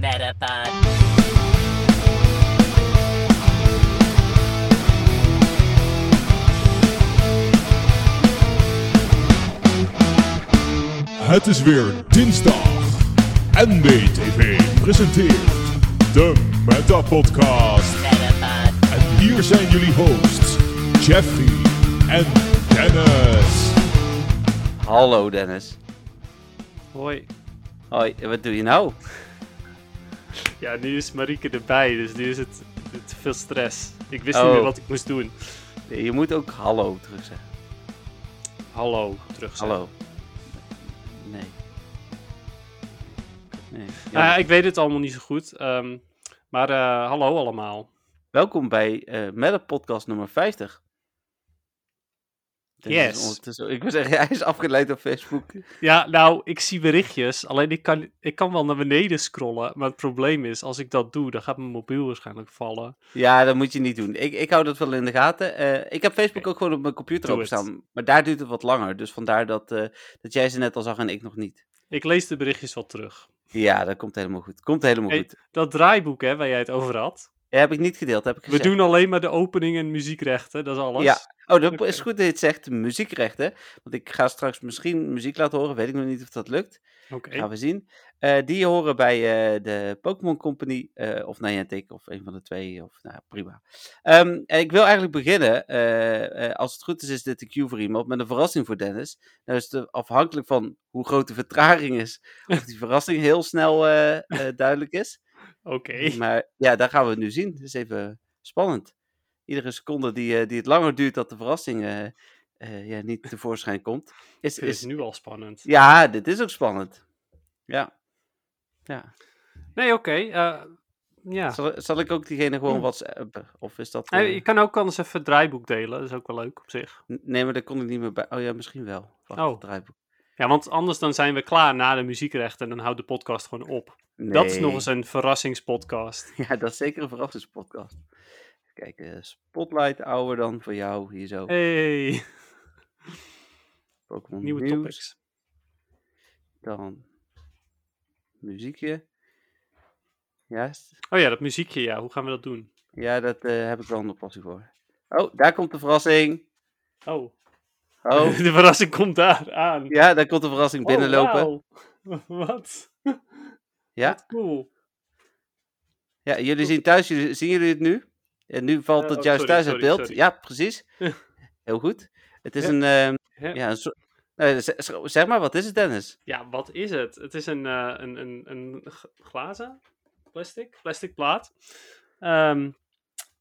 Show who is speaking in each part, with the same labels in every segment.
Speaker 1: Platypod.
Speaker 2: Het is weer dinsdag. NBTV presenteert de Meta Podcast.
Speaker 1: Platypod.
Speaker 2: En hier zijn jullie hosts, Jeffy en Dennis.
Speaker 3: Hallo Dennis.
Speaker 4: Hoi.
Speaker 3: Hoi, wat doe je nou?
Speaker 4: Ja, nu is Marieke erbij, dus nu is het, het veel stress. Ik wist
Speaker 3: Oh.
Speaker 4: niet meer wat ik moest doen.
Speaker 3: Je moet ook hallo terug zeggen.
Speaker 4: Hallo, terug. zeggen.
Speaker 3: Hallo. Nee. nee.
Speaker 4: Nou
Speaker 3: Ja.
Speaker 4: ja, ik weet het allemaal niet zo goed. ehm, maar eh, hallo allemaal.
Speaker 3: Welkom bij eh Melle Podcast nummer 50. Dennis is
Speaker 4: Yes.
Speaker 3: ondertussen- Ik wil zeggen, hij is afgeleid op Facebook.
Speaker 4: Ja, nou, ik zie berichtjes. Alleen ik kan, ik kan wel naar beneden scrollen. Maar het probleem is, als ik dat doe, dan gaat mijn mobiel waarschijnlijk vallen.
Speaker 3: Ja, dat moet je niet doen. Ik, ik hou dat wel in de gaten. Eh, ik heb Facebook
Speaker 4: Oké.
Speaker 3: ook gewoon op mijn computer
Speaker 4: Doe
Speaker 3: openstaan. Maar daar duurt het wat langer. Dus vandaar dat, eh, dat jij ze net al zag en ik nog niet.
Speaker 4: Ik lees de berichtjes wel terug.
Speaker 3: Ja, dat komt helemaal goed. Komt helemaal
Speaker 4: Hey.
Speaker 3: goed.
Speaker 4: Dat draaiboek, hè, waar jij het over had.
Speaker 3: Ja, heb ik niet gedeeld. Heb ik
Speaker 4: We
Speaker 3: gezegd.
Speaker 4: doen alleen maar de opening en muziekrechten, dat is alles.
Speaker 3: Ja. Oh, dat is
Speaker 4: Oké.
Speaker 3: goed dat je het zegt. Muziekrechten. Want ik ga straks misschien muziek laten horen. Weet ik nog niet of dat lukt.
Speaker 4: Oké.
Speaker 3: Gaan we zien. Eh, die horen bij eh, de Pokémon Company. eh of Niantic. Of een van de twee. Of, nou, prima. Ehm, en ik wil eigenlijk beginnen. eh, eh, als het goed is, is dit de cue voor iemand. Met een verrassing voor Dennis. Nou is het afhankelijk van hoe groot de vertraging is. Of die verrassing heel snel eh, eh, duidelijk is.
Speaker 4: Oké.
Speaker 3: Maar ja, daar gaan we het nu zien. Het is even spannend. Iedere seconde die, eh, die het langer duurt dat de verrassing eh, eh, ja, niet tevoorschijn komt. Is,
Speaker 4: Ik vind het
Speaker 3: is,
Speaker 4: nu al spannend.
Speaker 3: ja, dit is ook spannend. Ja. ja.
Speaker 4: Nee, oké. eh, ja. Hmm.
Speaker 3: Zal, zal ik ook diegene gewoon whatsappen? Of is dat...
Speaker 4: Hey,
Speaker 3: eh,
Speaker 4: je kan ook anders even het draaiboek delen. Dat is ook wel leuk op zich.
Speaker 3: n- Nee, maar daar kon ik niet meer bij. Oh ja, misschien wel. Wacht,
Speaker 4: Oh.
Speaker 3: het draaiboek.
Speaker 4: Ja, want anders dan zijn we klaar na de muziekrechten en dan houdt de podcast gewoon op. Dat is nog eens een verrassingspodcast.
Speaker 3: Ja, dat is zeker een verrassingspodcast. Kijk, eh, Spotlight, ouder dan voor jou, hier zo.
Speaker 4: Hey,
Speaker 3: Pokémon
Speaker 4: nieuwe
Speaker 3: nieuws.
Speaker 4: topics.
Speaker 3: Dan muziekje. Ja, s-
Speaker 4: Oh ja, dat muziekje, ja. Hoe gaan we dat doen?
Speaker 3: ja dat eh, heb ik wel een oplossing voor. Oh, daar komt de verrassing.
Speaker 4: Oh,
Speaker 3: Oh,
Speaker 4: de verrassing komt daar aan.
Speaker 3: ja, daar komt de verrassing binnenlopen.
Speaker 4: Oh, wauw. Wat?
Speaker 3: ja?
Speaker 4: Cool.
Speaker 3: ja, jullie zien thuis, jullie, zien jullie het nu? En nu valt
Speaker 4: Eh,
Speaker 3: dat
Speaker 4: oh,
Speaker 3: juist
Speaker 4: sorry,
Speaker 3: thuis uit
Speaker 4: sorry,
Speaker 3: beeld.
Speaker 4: sorry.
Speaker 3: Ja, precies. Heel goed. Het is een, ehm,
Speaker 4: Ja.
Speaker 3: ja, een soort- nou, z- z- zeg maar, wat is het Dennis?
Speaker 4: Ja, wat is het? Het is een, eh, een, een, een g- glazen plastic, plastic plaat. Ehm,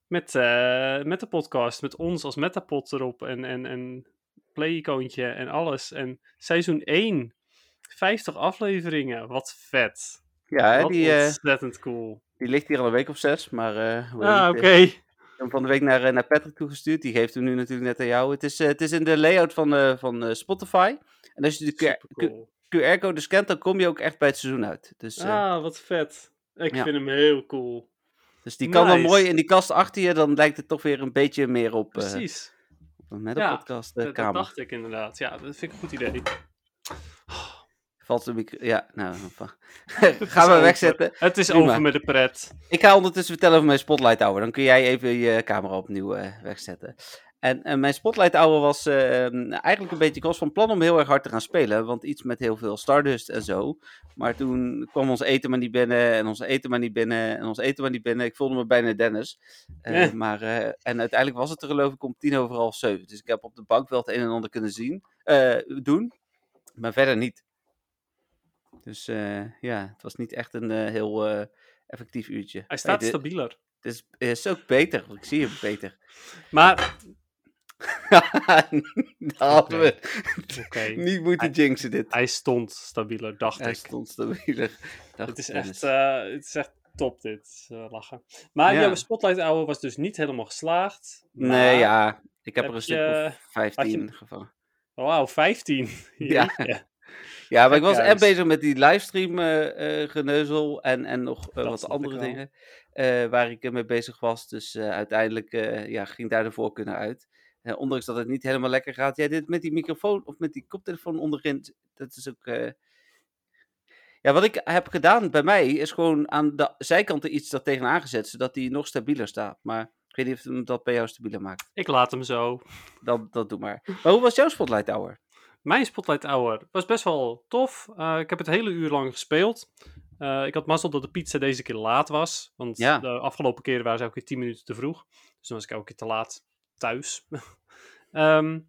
Speaker 4: met, eh, met de podcast, met ons als metapod erop en, en, en play-icoontje en alles. En seizoen 1, 50 afleveringen. Wat vet.
Speaker 3: Ja, hè,
Speaker 4: wat
Speaker 3: die, eh,
Speaker 4: ontzettend cool.
Speaker 3: die ligt hier al een week of zes, maar eh, hoe heet
Speaker 4: Ah,
Speaker 3: het?
Speaker 4: oké.
Speaker 3: Ik heb hem van de week naar, eh, naar Patrick toegestuurd. Die geeft hem nu natuurlijk net aan jou. Het is, eh, het is in de layout van, eh, van eh, Spotify. En als je de
Speaker 4: Supercool.
Speaker 3: QR-code scant, dan kom je ook echt bij het seizoen uit. Dus, eh,
Speaker 4: Ah, wat vet. Ik
Speaker 3: Ja.
Speaker 4: vind hem heel cool.
Speaker 3: dus die kan wel
Speaker 4: nice.
Speaker 3: mooi in die kast achter je. Dan lijkt het toch weer een beetje meer op, eh
Speaker 4: Precies.
Speaker 3: op een met
Speaker 4: Ja,
Speaker 3: podcast
Speaker 4: dat,
Speaker 3: eh,
Speaker 4: dat
Speaker 3: kamer.
Speaker 4: dacht ik inderdaad. Ja, dat vind ik een goed idee.
Speaker 3: Valt de micro... Ja, nou... va- Gaan we wegzetten.
Speaker 4: Het is
Speaker 3: Prima.
Speaker 4: over met de pret.
Speaker 3: Ik ga ondertussen vertellen over mijn Spotlight Hour. Dan kun jij even je camera opnieuw eh, wegzetten. En, en mijn Spotlight Hour was eh, eigenlijk een beetje... Ik was van plan om heel erg hard te gaan spelen. Want iets met heel veel Stardust en zo. Maar toen kwam ons eten maar niet binnen. En ons eten maar niet binnen. En ons eten maar niet binnen. Ik voelde me bijna Dennis. Eh,
Speaker 4: Eh.
Speaker 3: Maar, eh, en uiteindelijk was het er geloof ik om tien over half zeven. Dus ik heb op de bank wel het een en ander kunnen zien, eh, doen. Maar verder niet. Dus eh, ja, het was niet echt een eh, heel eh, effectief uurtje.
Speaker 4: Hij
Speaker 3: Hey,
Speaker 4: staat
Speaker 3: dit-
Speaker 4: stabieler.
Speaker 3: Dit is, is ook beter, want ik zie hem beter.
Speaker 4: Maar,
Speaker 3: Dat hadden we
Speaker 4: oké.
Speaker 3: niet moeten jinxen dit.
Speaker 4: Hij stond stabieler, dacht
Speaker 3: Hij
Speaker 4: ik.
Speaker 3: stond stabieler. Dacht
Speaker 4: Het is,
Speaker 3: Dennis.
Speaker 4: echt, eh, het is echt top dit, eh, lachen. Maar
Speaker 3: Ja.
Speaker 4: jouw spotlight hour was dus niet helemaal geslaagd. maar-
Speaker 3: Nee, ja. Ik heb,
Speaker 4: heb
Speaker 3: er een
Speaker 4: je-
Speaker 3: stuk of 15 gevangen.
Speaker 4: Oh, Wauw, 15.
Speaker 3: Ja.
Speaker 4: Jeetje.
Speaker 3: Ja, maar ik was echt
Speaker 4: Gekhuis.
Speaker 3: bezig met die livestream eh, eh, geneuzel en, en nog eh,
Speaker 4: Dat
Speaker 3: wat
Speaker 4: snap ik
Speaker 3: andere
Speaker 4: wel.
Speaker 3: dingen eh, waar ik eh, mee bezig was. Dus eh, uiteindelijk eh, ja, ging daar de voorkeur naar uit. Eh, ondanks dat het niet helemaal lekker gaat. Ja, dit met die microfoon of met die koptelefoon onderin, dat is ook... eh, Ja, wat ik heb gedaan bij mij is gewoon aan de zijkant er iets dat tegenaan gezet, zodat die nog stabieler staat. Maar ik weet niet of hem dat bij jou stabieler maakt.
Speaker 4: Ik laat hem zo.
Speaker 3: Dan, dat doe maar. Maar hoe was jouw Spotlight Hour?
Speaker 4: Mijn Spotlight Hour was best wel tof. Eh, ik heb het hele uur lang gespeeld. Eh, ik had mazzel dat de pizza deze keer laat was. Want
Speaker 3: Ja.
Speaker 4: de afgelopen keren waren ze elke keer 10 minuten te vroeg. Dus dan was ik elke keer te laat thuis. Ehm,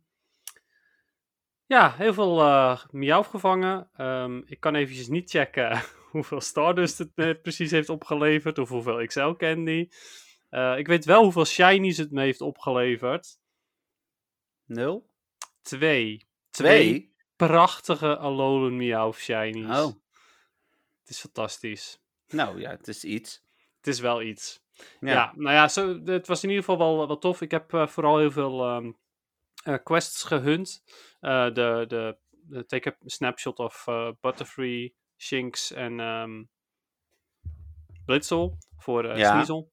Speaker 4: ja, heel veel eh miauw gevangen. Ehm, ik kan eventjes niet checken hoeveel Stardust het eh, precies heeft opgeleverd. Of hoeveel XL Candy. Eh, ik weet wel hoeveel Shinies het me heeft opgeleverd.
Speaker 3: Nul?
Speaker 4: Twee.
Speaker 3: Twee?
Speaker 4: prachtige Alolan Meow Shinies.
Speaker 3: Oh,
Speaker 4: Het is fantastisch.
Speaker 3: nou ja, het is iets.
Speaker 4: Het is wel iets. Ja,
Speaker 3: Ja.
Speaker 4: nou ja, zo, het was in ieder geval wel, wel tof. Ik heb eh, vooral heel veel ehm, eh, quests gehunt. Eh, de, de, de take a snapshot of eh, Butterfree, Shinx en ehm Blitzel voor eh
Speaker 3: Ja.
Speaker 4: Sneasel.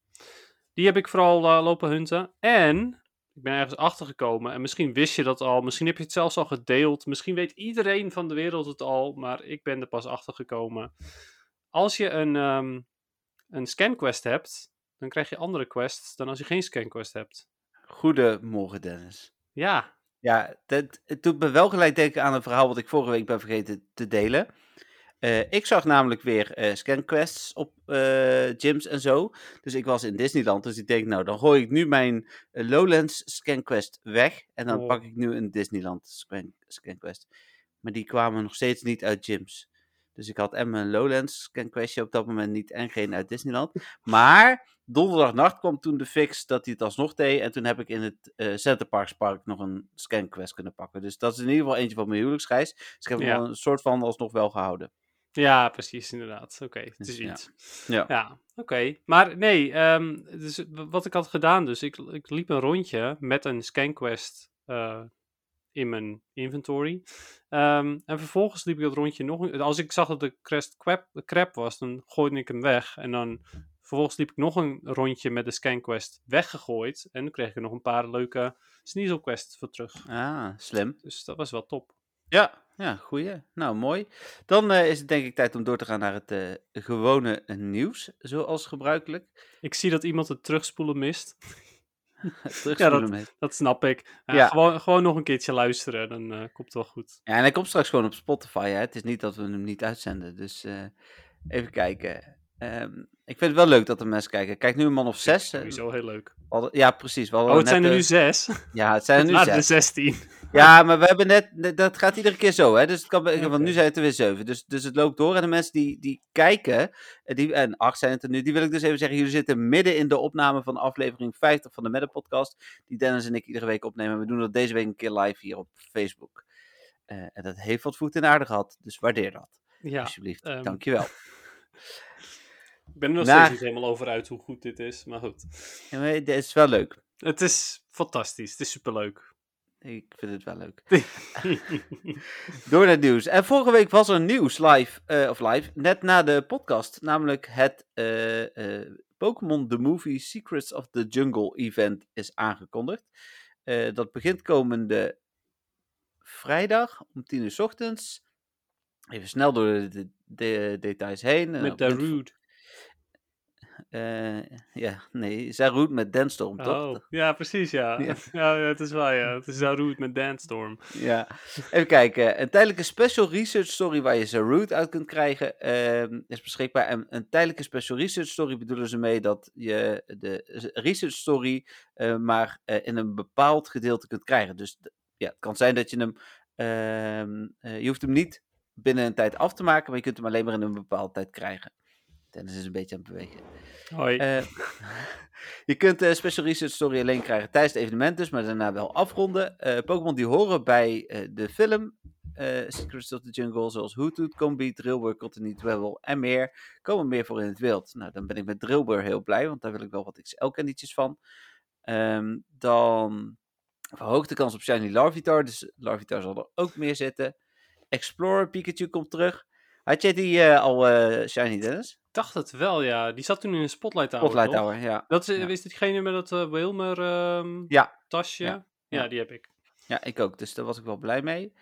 Speaker 4: Die heb ik vooral eh, lopen hunten. En ik ben ergens achtergekomen. En misschien wist je dat al. Misschien heb je het zelfs al gedeeld. Misschien weet iedereen van de wereld het al. Maar ik ben er pas achtergekomen. Als je een, ehm een scanquest hebt, dan krijg je andere quests dan als je geen scanquest hebt.
Speaker 3: Goedemorgen, Dennis.
Speaker 4: Ja,
Speaker 3: Ja, dat, het doet me wel gelijk denken aan een verhaal wat ik vorige week ben vergeten te delen. Eh, ik zag namelijk weer eh, scanquests op eh, gyms en zo. Dus ik was in Disneyland, dus ik denk, nou, dan gooi ik nu mijn eh, Lowlands scanquest weg. En dan
Speaker 4: Oh.
Speaker 3: pak ik nu een Disneyland scan, scanquest. Maar die kwamen nog steeds niet uit gyms. Dus ik had en mijn Lowlands scanquestje op dat moment niet en geen uit Disneyland. Maar donderdagnacht kwam toen de fix dat hij het alsnog deed. En toen heb ik in het eh Centerparkspark nog een scanquest kunnen pakken. Dus dat is in ieder geval eentje van mijn huwelijksreis. Dus ik heb
Speaker 4: Ja.
Speaker 3: hem al een soort van alsnog wel gehouden.
Speaker 4: ja precies, inderdaad. Oké, het is
Speaker 3: Dus, Ja.
Speaker 4: iets.
Speaker 3: Ja.
Speaker 4: oké. Maar nee, ehm, dus w- wat ik had gedaan, dus ik, ik liep een rondje met een scanquest eh, in mijn inventory. Ehm, en vervolgens liep ik dat rondje nog een... Als ik zag dat de crest crap, crap was, dan gooide ik hem weg. En dan vervolgens liep ik nog een rondje met de scanquest weggegooid. En dan kreeg ik er nog een paar leuke sneaselquests voor terug.
Speaker 3: Ah, slim.
Speaker 4: Dus dat was wel top.
Speaker 3: Ja, ja, goeie. Nou, mooi. Dan eh, is het denk ik tijd om door te gaan naar het eh, gewone nieuws, zoals gebruikelijk.
Speaker 4: Ik zie dat iemand het terugspoelen mist.
Speaker 3: Terugspoelen
Speaker 4: dat-
Speaker 3: met-
Speaker 4: Dat snap ik. Ja,
Speaker 3: Ja.
Speaker 4: Gewoon, gewoon nog een keertje luisteren, dan eh, komt het wel goed.
Speaker 3: Ja, en hij komt straks gewoon op Spotify. Hè? Het is niet dat we hem niet uitzenden. Dus eh, even kijken. Ehm, ik vind het wel leuk dat er mensen kijken. Kijk, nu een man of zes. eh,
Speaker 4: Sowieso heel leuk.
Speaker 3: we hadden- ja, precies. We hadden
Speaker 4: Oh, het zijn Ah, er
Speaker 3: net
Speaker 4: nu
Speaker 3: een-
Speaker 4: zes.
Speaker 3: Ja, het zijn er
Speaker 4: Het
Speaker 3: nu
Speaker 4: waren er
Speaker 3: zes.
Speaker 4: zestien.
Speaker 3: Ja, maar we hebben net, net- dat gaat iedere keer zo, hè? Dus het kan, be- want
Speaker 4: Oké.
Speaker 3: nu zijn het er weer zeven. Dus, dus het loopt door. En de mensen die, die kijken, eh, die, en acht zijn het er nu, die wil ik dus even zeggen. Jullie zitten midden in de opname van aflevering 50 van de Madden Podcast. Die Dennis en ik iedere week opnemen. We doen dat deze week een keer live hier op Facebook. Eh, en dat heeft wat voet in de aarde gehad. Dus waardeer dat,
Speaker 4: Ja,
Speaker 3: alsjeblieft.
Speaker 4: ehm.
Speaker 3: Dankjewel.
Speaker 4: ik ben er nog
Speaker 3: Nou.
Speaker 4: steeds niet helemaal over uit hoe goed dit is, maar goed.
Speaker 3: Ja, maar dit is wel leuk.
Speaker 4: Het is fantastisch, het is superleuk.
Speaker 3: Ik vind het wel leuk. Door naar het nieuws. En vorige week was er nieuws live, eh, of live, net na de podcast. Namelijk het eh, eh, Pokémon The Movie Secrets of the Jungle event is aangekondigd. Eh, dat begint komende vrijdag om 10 uur 's ochtends. Even snel door de, de- de details heen. En
Speaker 4: Met
Speaker 3: op dit-
Speaker 4: Darude.
Speaker 3: eh, ja, nee, Zarude met Denstorm, toch?
Speaker 4: Oh, ja, precies, ja. Ja.
Speaker 3: Ja.
Speaker 4: ja, het is waar, ja. Het is Darude met Dance Storm.
Speaker 3: Ja, even kijken. Een tijdelijke special research story waar je zijn root uit kunt krijgen ehm, is beschikbaar. En een tijdelijke special research story bedoelen ze mee dat je de research story eh, maar eh, in een bepaald gedeelte kunt krijgen. Dus d- ja, het kan zijn dat je hem, ehm, eh, je hoeft hem niet binnen een tijd af te maken, maar je kunt hem alleen maar in een bepaalde tijd krijgen. Dennis is een beetje aan het bewegen.
Speaker 4: Hoi.
Speaker 3: Eh, je kunt de Special Research Story alleen krijgen tijdens het evenement dus, maar daarna wel afronden. Eh, Pokémon die horen bij eh, de film eh Secrets of the Jungle, zoals Hoothoot, Combi, Drillbur, Cottony, Dwebble en meer, komen meer voor in het wild. Nou, dan ben ik met Drillbur heel blij, want daar wil ik wel wat XL-kennietjes van. Ehm, dan verhoogt de kans op Shiny Larvitar, dus Larvitar zal er ook meer zitten. Explorer Pikachu komt terug. Had jij die eh, al, eh, Shiny Dennis?
Speaker 4: ik dacht het wel, ja. Die zat toen in een spotlight hour.
Speaker 3: Spotlight
Speaker 4: Nou, toch?
Speaker 3: Hour, ja.
Speaker 4: Dat is,
Speaker 3: Ja.
Speaker 4: is dit degene met dat eh, Wilmer ehm,
Speaker 3: Ja.
Speaker 4: tasje?
Speaker 3: Ja.
Speaker 4: ja,
Speaker 3: Ja.
Speaker 4: die heb ik.
Speaker 3: Ja, ik ook. Dus daar was ik wel blij mee.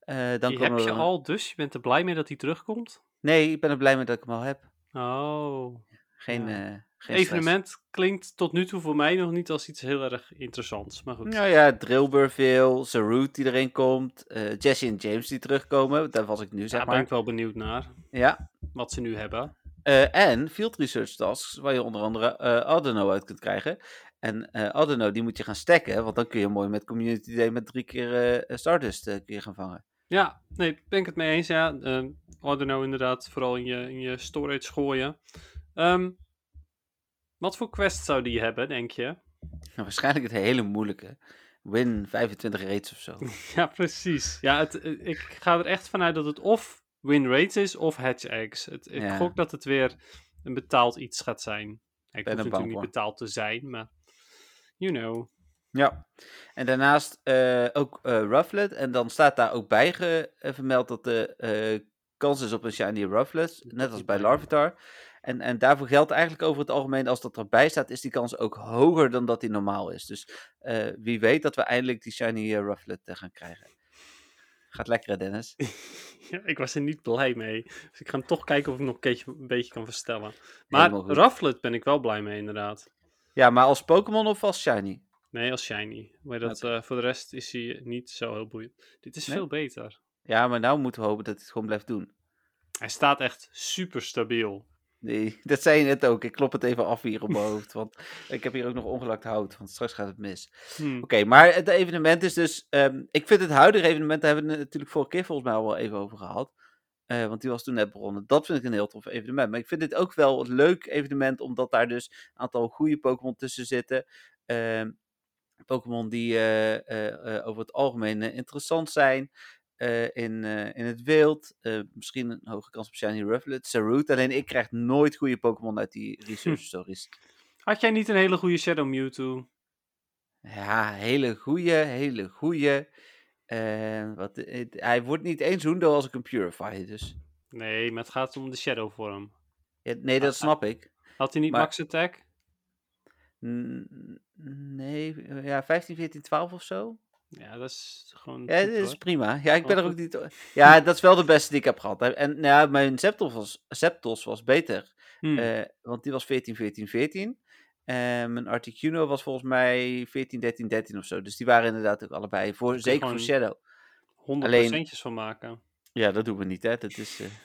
Speaker 3: Eh, dan
Speaker 4: die
Speaker 3: komen
Speaker 4: heb
Speaker 3: we
Speaker 4: je
Speaker 3: dan-
Speaker 4: al, dus je bent er blij mee dat hij terugkomt.
Speaker 3: Nee, ik ben er blij mee dat ik hem al heb.
Speaker 4: Oh.
Speaker 3: Geen,
Speaker 4: Ja.
Speaker 3: eh, geen
Speaker 4: Evenement klinkt tot nu toe voor mij nog niet als iets heel erg interessants. Maar goed.
Speaker 3: stress. Nou ja, Drillburville, Root die erin komt, eh, Jesse en James die terugkomen. Daar was ik nu, zeg
Speaker 4: Daar ben
Speaker 3: maar.
Speaker 4: ik wel benieuwd naar.
Speaker 3: Ja,
Speaker 4: Wat ze nu hebben.
Speaker 3: Eh, en field research tasks, waar je onder andere eh Arduino uit kunt krijgen. En eh Arduino, die moet je gaan stacken, want dan kun je mooi met Community Day met drie keer eh, Stardust eh, kun je gaan vangen.
Speaker 4: Ja, nee, ben ik het mee eens. Ja, Ehm Arduino inderdaad. Vooral in je, in je storage gooien. Ehm, wat voor quest zou die hebben, denk je?
Speaker 3: Nou, waarschijnlijk het hele moeilijke. Win 25 rates of zo.
Speaker 4: Ja, precies. Ja, het, eh, ik ga er echt vanuit dat het of win rates is of hatch eggs. Het, ik
Speaker 3: Ja.
Speaker 4: gok dat het weer een betaald iets gaat zijn. Ik hoeft
Speaker 3: er
Speaker 4: natuurlijk
Speaker 3: bang
Speaker 4: niet
Speaker 3: voor.
Speaker 4: betaald te zijn, maar you know.
Speaker 3: Ja. En daarnaast eh, ook eh Rufflet. En dan staat daar ook bij ge- eh, vermeld dat de eh, kans is op een shiny Rufflet. Net als bij Larvitar. En, en daarvoor geldt eigenlijk over het algemeen, als dat erbij staat, is die kans ook hoger dan dat die normaal is. Dus eh, wie weet dat we eindelijk die shiny eh, Rufflet eh, gaan krijgen. Gaat lekker, hè, Dennis.
Speaker 4: Ja, ik was er niet blij mee. Dus ik ga hem toch kijken of ik nog een, keertje, een beetje kan verstellen. Maar
Speaker 3: Helemaal goed.
Speaker 4: Rufflet ben ik wel blij mee, inderdaad.
Speaker 3: Ja, maar als Pokémon of als shiny?
Speaker 4: Nee, als Shiny. Maar dat, eh, voor de rest is hij niet zo heel boeiend. Dit is
Speaker 3: Nee?
Speaker 4: veel beter.
Speaker 3: Ja, maar nou moeten we hopen dat hij het gewoon blijft doen.
Speaker 4: Hij staat echt super stabiel.
Speaker 3: Nee, dat zei je net ook. Ik klop het even af hier op mijn hoofd. Want ik heb hier ook nog ongelakt hout, want straks gaat het mis.
Speaker 4: Hm.
Speaker 3: Oké, maar het evenement is dus. ehm, ik vind het huidige evenement, daar hebben we het natuurlijk vorige keer volgens mij al wel even over gehad. Eh, want die was toen net begonnen. Dat vind ik een heel tof evenement. Maar ik vind dit ook wel een leuk evenement, omdat daar dus een aantal goede Pokémon tussen zitten. Ehm, Pokémon die eh, eh, eh, over het algemeen eh, interessant zijn. eh, in, eh, in het wild. Eh, misschien een hoge kans op Shiny Rufflet. Sarut. Alleen ik krijg nooit goede Pokémon uit die research stories.
Speaker 4: Had jij niet een hele goede Shadow Mewtwo?
Speaker 3: Ja, hele goeie, hele goeie. Eh, wat, eh, hij wordt niet eens Hundo als ik hem purify, dus...
Speaker 4: Nee, maar het gaat om de shadow vorm.
Speaker 3: Ja, nee, dat
Speaker 4: Ah,
Speaker 3: snap ik.
Speaker 4: Had hij niet
Speaker 3: Maar-
Speaker 4: max attack?
Speaker 3: N- Nee, eh, ja, 15, 14, 12 of zo.
Speaker 4: Ja, dat is gewoon.
Speaker 3: Ja,
Speaker 4: goed,
Speaker 3: dat is
Speaker 4: hoor. Oh.
Speaker 3: prima. Ja, ik ben
Speaker 4: Wel
Speaker 3: er ook
Speaker 4: goed.
Speaker 3: niet... Ja, dat is wel de beste die ik heb gehad. En nou ja, mijn Zapdos was, Zapdos was beter.
Speaker 4: Hmm.
Speaker 3: Eh, want die was 14, 14, 14. En Eh, mijn Articuno was volgens mij 14, 13, 13 of zo. Dus die waren inderdaad ook allebei. Voor,
Speaker 4: je
Speaker 3: zeker voor
Speaker 4: gewoon-
Speaker 3: Shadow.
Speaker 4: 100
Speaker 3: alleen-
Speaker 4: procentjes van maken.
Speaker 3: Ja, dat doen we niet, hè. Dat is... eh.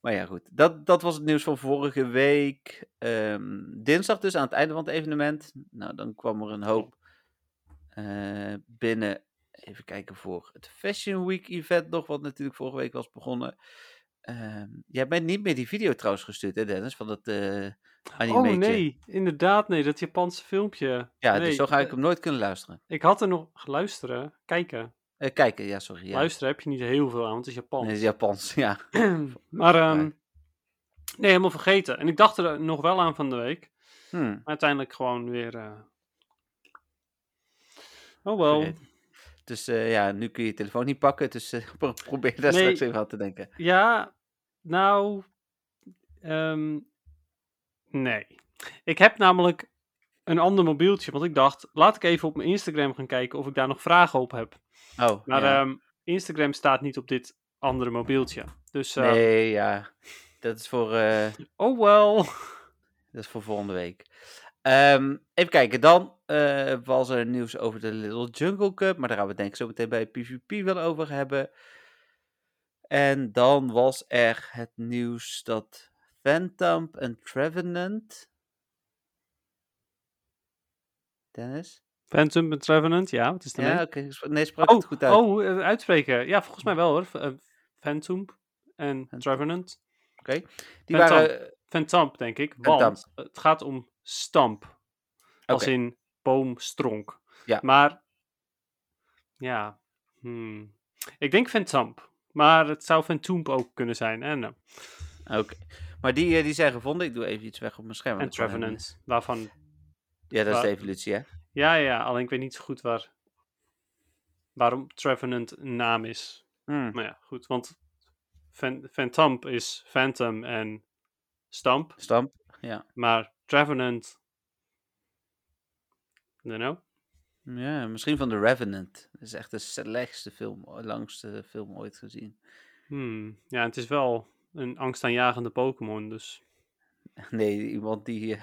Speaker 3: Maar ja, goed. Dat, dat was het nieuws van vorige week. Ehm, dinsdag dus, aan het einde van het evenement. Nou, dan kwam er een hoop eh, binnen. Even kijken voor het Fashion Week event nog, wat natuurlijk vorige week was begonnen. Ehm, jij bent niet meer die video trouwens gestuurd, hè Dennis, van dat eh
Speaker 4: Oh
Speaker 3: animeetje.
Speaker 4: nee, inderdaad nee, dat Japanse filmpje.
Speaker 3: Ja,
Speaker 4: nee.
Speaker 3: dus zo ga ik
Speaker 4: eh,
Speaker 3: hem nooit kunnen luisteren.
Speaker 4: Ik had er nog luisteren, kijken.
Speaker 3: Eh, kijken, ja, sorry. Ja.
Speaker 4: Luisteren heb je niet heel veel aan, want het is Japans.
Speaker 3: Nee, het is Japans, ja.
Speaker 4: maar ehm,
Speaker 3: Nee.
Speaker 4: nee, helemaal vergeten. En ik dacht er nog wel aan van de week,
Speaker 3: Hm.
Speaker 4: maar uiteindelijk gewoon weer. eh, Oh wel.
Speaker 3: Vergeten. Dus eh, ja, nu kun je je telefoon niet pakken. Dus eh, pro- probeer daar
Speaker 4: Nee.
Speaker 3: straks even aan te denken.
Speaker 4: Ja, nou. ehm, nee. Ik heb namelijk een ander mobieltje. Want ik dacht, laat ik even op mijn Instagram gaan kijken of ik daar nog vragen op heb.
Speaker 3: Oh,
Speaker 4: Maar
Speaker 3: ja.
Speaker 4: ehm, Instagram staat niet op dit andere mobieltje. Dus, eh,
Speaker 3: nee, ja. Dat is voor, eh,
Speaker 4: oh wel.
Speaker 3: dat is voor volgende week. Ehm, even kijken, dan eh, was er nieuws over de Little Jungle Cup. Maar daar gaan we het denk ik zo meteen bij PvP wel over hebben. En dan was er het nieuws dat Phantom en Trevenant... Dennis?
Speaker 4: Phantom and Trevenant, ja, wat is
Speaker 3: Ja,
Speaker 4: daarmee?
Speaker 3: oké. sp- Nee, sprak
Speaker 4: oh,
Speaker 3: het goed uit.
Speaker 4: oh eh, uitspreken. Ja, volgens mij wel hoor. V- eh, Phantom en
Speaker 3: Phantom.
Speaker 4: Trevenant.
Speaker 3: Die
Speaker 4: Phantom.
Speaker 3: waren...
Speaker 4: Phantom, denk ik.
Speaker 3: Phantom.
Speaker 4: Want het gaat om stamp. Als
Speaker 3: Oké.
Speaker 4: in boomstronk.
Speaker 3: Ja.
Speaker 4: Maar, ja. hmm. Ik denk Phantom. Maar het zou Phantom ook kunnen zijn. En, eh,
Speaker 3: Oh, Oké. Maar die, eh, die zijn gevonden. Ik doe even iets weg op mijn scherm.
Speaker 4: en
Speaker 3: want ik kan helemaal
Speaker 4: Trevenant. Waarvan.
Speaker 3: niet- Ja, dat is de
Speaker 4: Wa-
Speaker 3: evolutie, hè?
Speaker 4: Ja, ja, alleen ik weet niet zo goed waar. Waarom Trevenant een naam is.
Speaker 3: Hmm.
Speaker 4: Maar ja, goed. Want Fan- Phantom is Phantom en Stamp.
Speaker 3: Stamp. Ja.
Speaker 4: Maar Trevenant. I don't know.
Speaker 3: ja, misschien van The Revenant. Dat is echt de slechtste film, o- langste film ooit gezien.
Speaker 4: Hmm, ja, het is wel een angstaanjagende Pokémon. Dus
Speaker 3: Nee, iemand die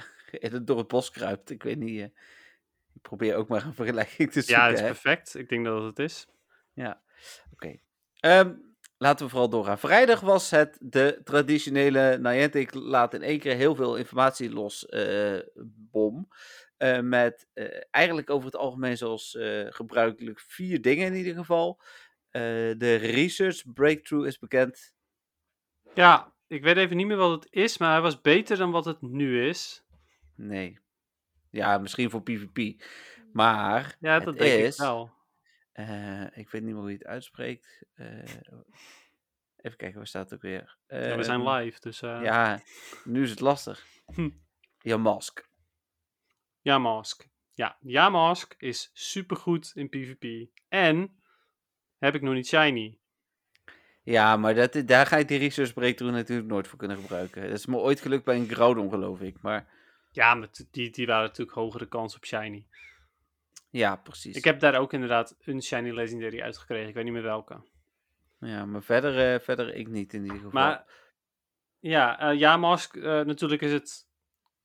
Speaker 3: eh, door het bos kruipt. Ik weet niet. eh, ik probeer ook maar een vergelijking te zoeken.
Speaker 4: ja, het is
Speaker 3: hè.
Speaker 4: perfect. Ik denk dat het het is.
Speaker 3: Ja, oké. Ehm, laten we vooral doorgaan. Vrijdag was het de traditionele Niantic laat in één keer heel veel informatie los eh, bom. Eh, met eh, eigenlijk over het algemeen zoals eh, gebruikelijk vier dingen in ieder geval. Eh, de research breakthrough is bekend.
Speaker 4: Ja, ik weet even niet meer wat het is, maar hij was beter dan wat het nu is.
Speaker 3: Nee. Ja, misschien voor PvP. Maar
Speaker 4: Ja,
Speaker 3: het
Speaker 4: dat denk
Speaker 3: is-
Speaker 4: ik wel.
Speaker 3: Eh, ik weet niet meer hoe je het uitspreekt. Eh, even kijken, waar staat het ook weer?
Speaker 4: Ja, we zijn
Speaker 3: Ehm,
Speaker 4: live, dus eh, ja.
Speaker 3: Ja, nu is het lastig.
Speaker 4: Hm.
Speaker 3: Ja, mask.
Speaker 4: Yamask. Ja, Yamask is supergoed in PvP. En heb ik nog niet shiny.
Speaker 3: Ja, maar dat, daar ga je die research breakthrough natuurlijk nooit voor kunnen gebruiken. Dat is me ooit gelukt bij een Groudon, geloof ik. Maar
Speaker 4: Ja, maar t- die, die waren natuurlijk hogere kans op shiny.
Speaker 3: ja, precies.
Speaker 4: Ik heb daar ook inderdaad een shiny legendary uitgekregen. Ik weet niet meer welke.
Speaker 3: Ja, maar verder, eh, verder ik niet in ieder geval.
Speaker 4: Maar ja, eh Yamask, eh, natuurlijk is het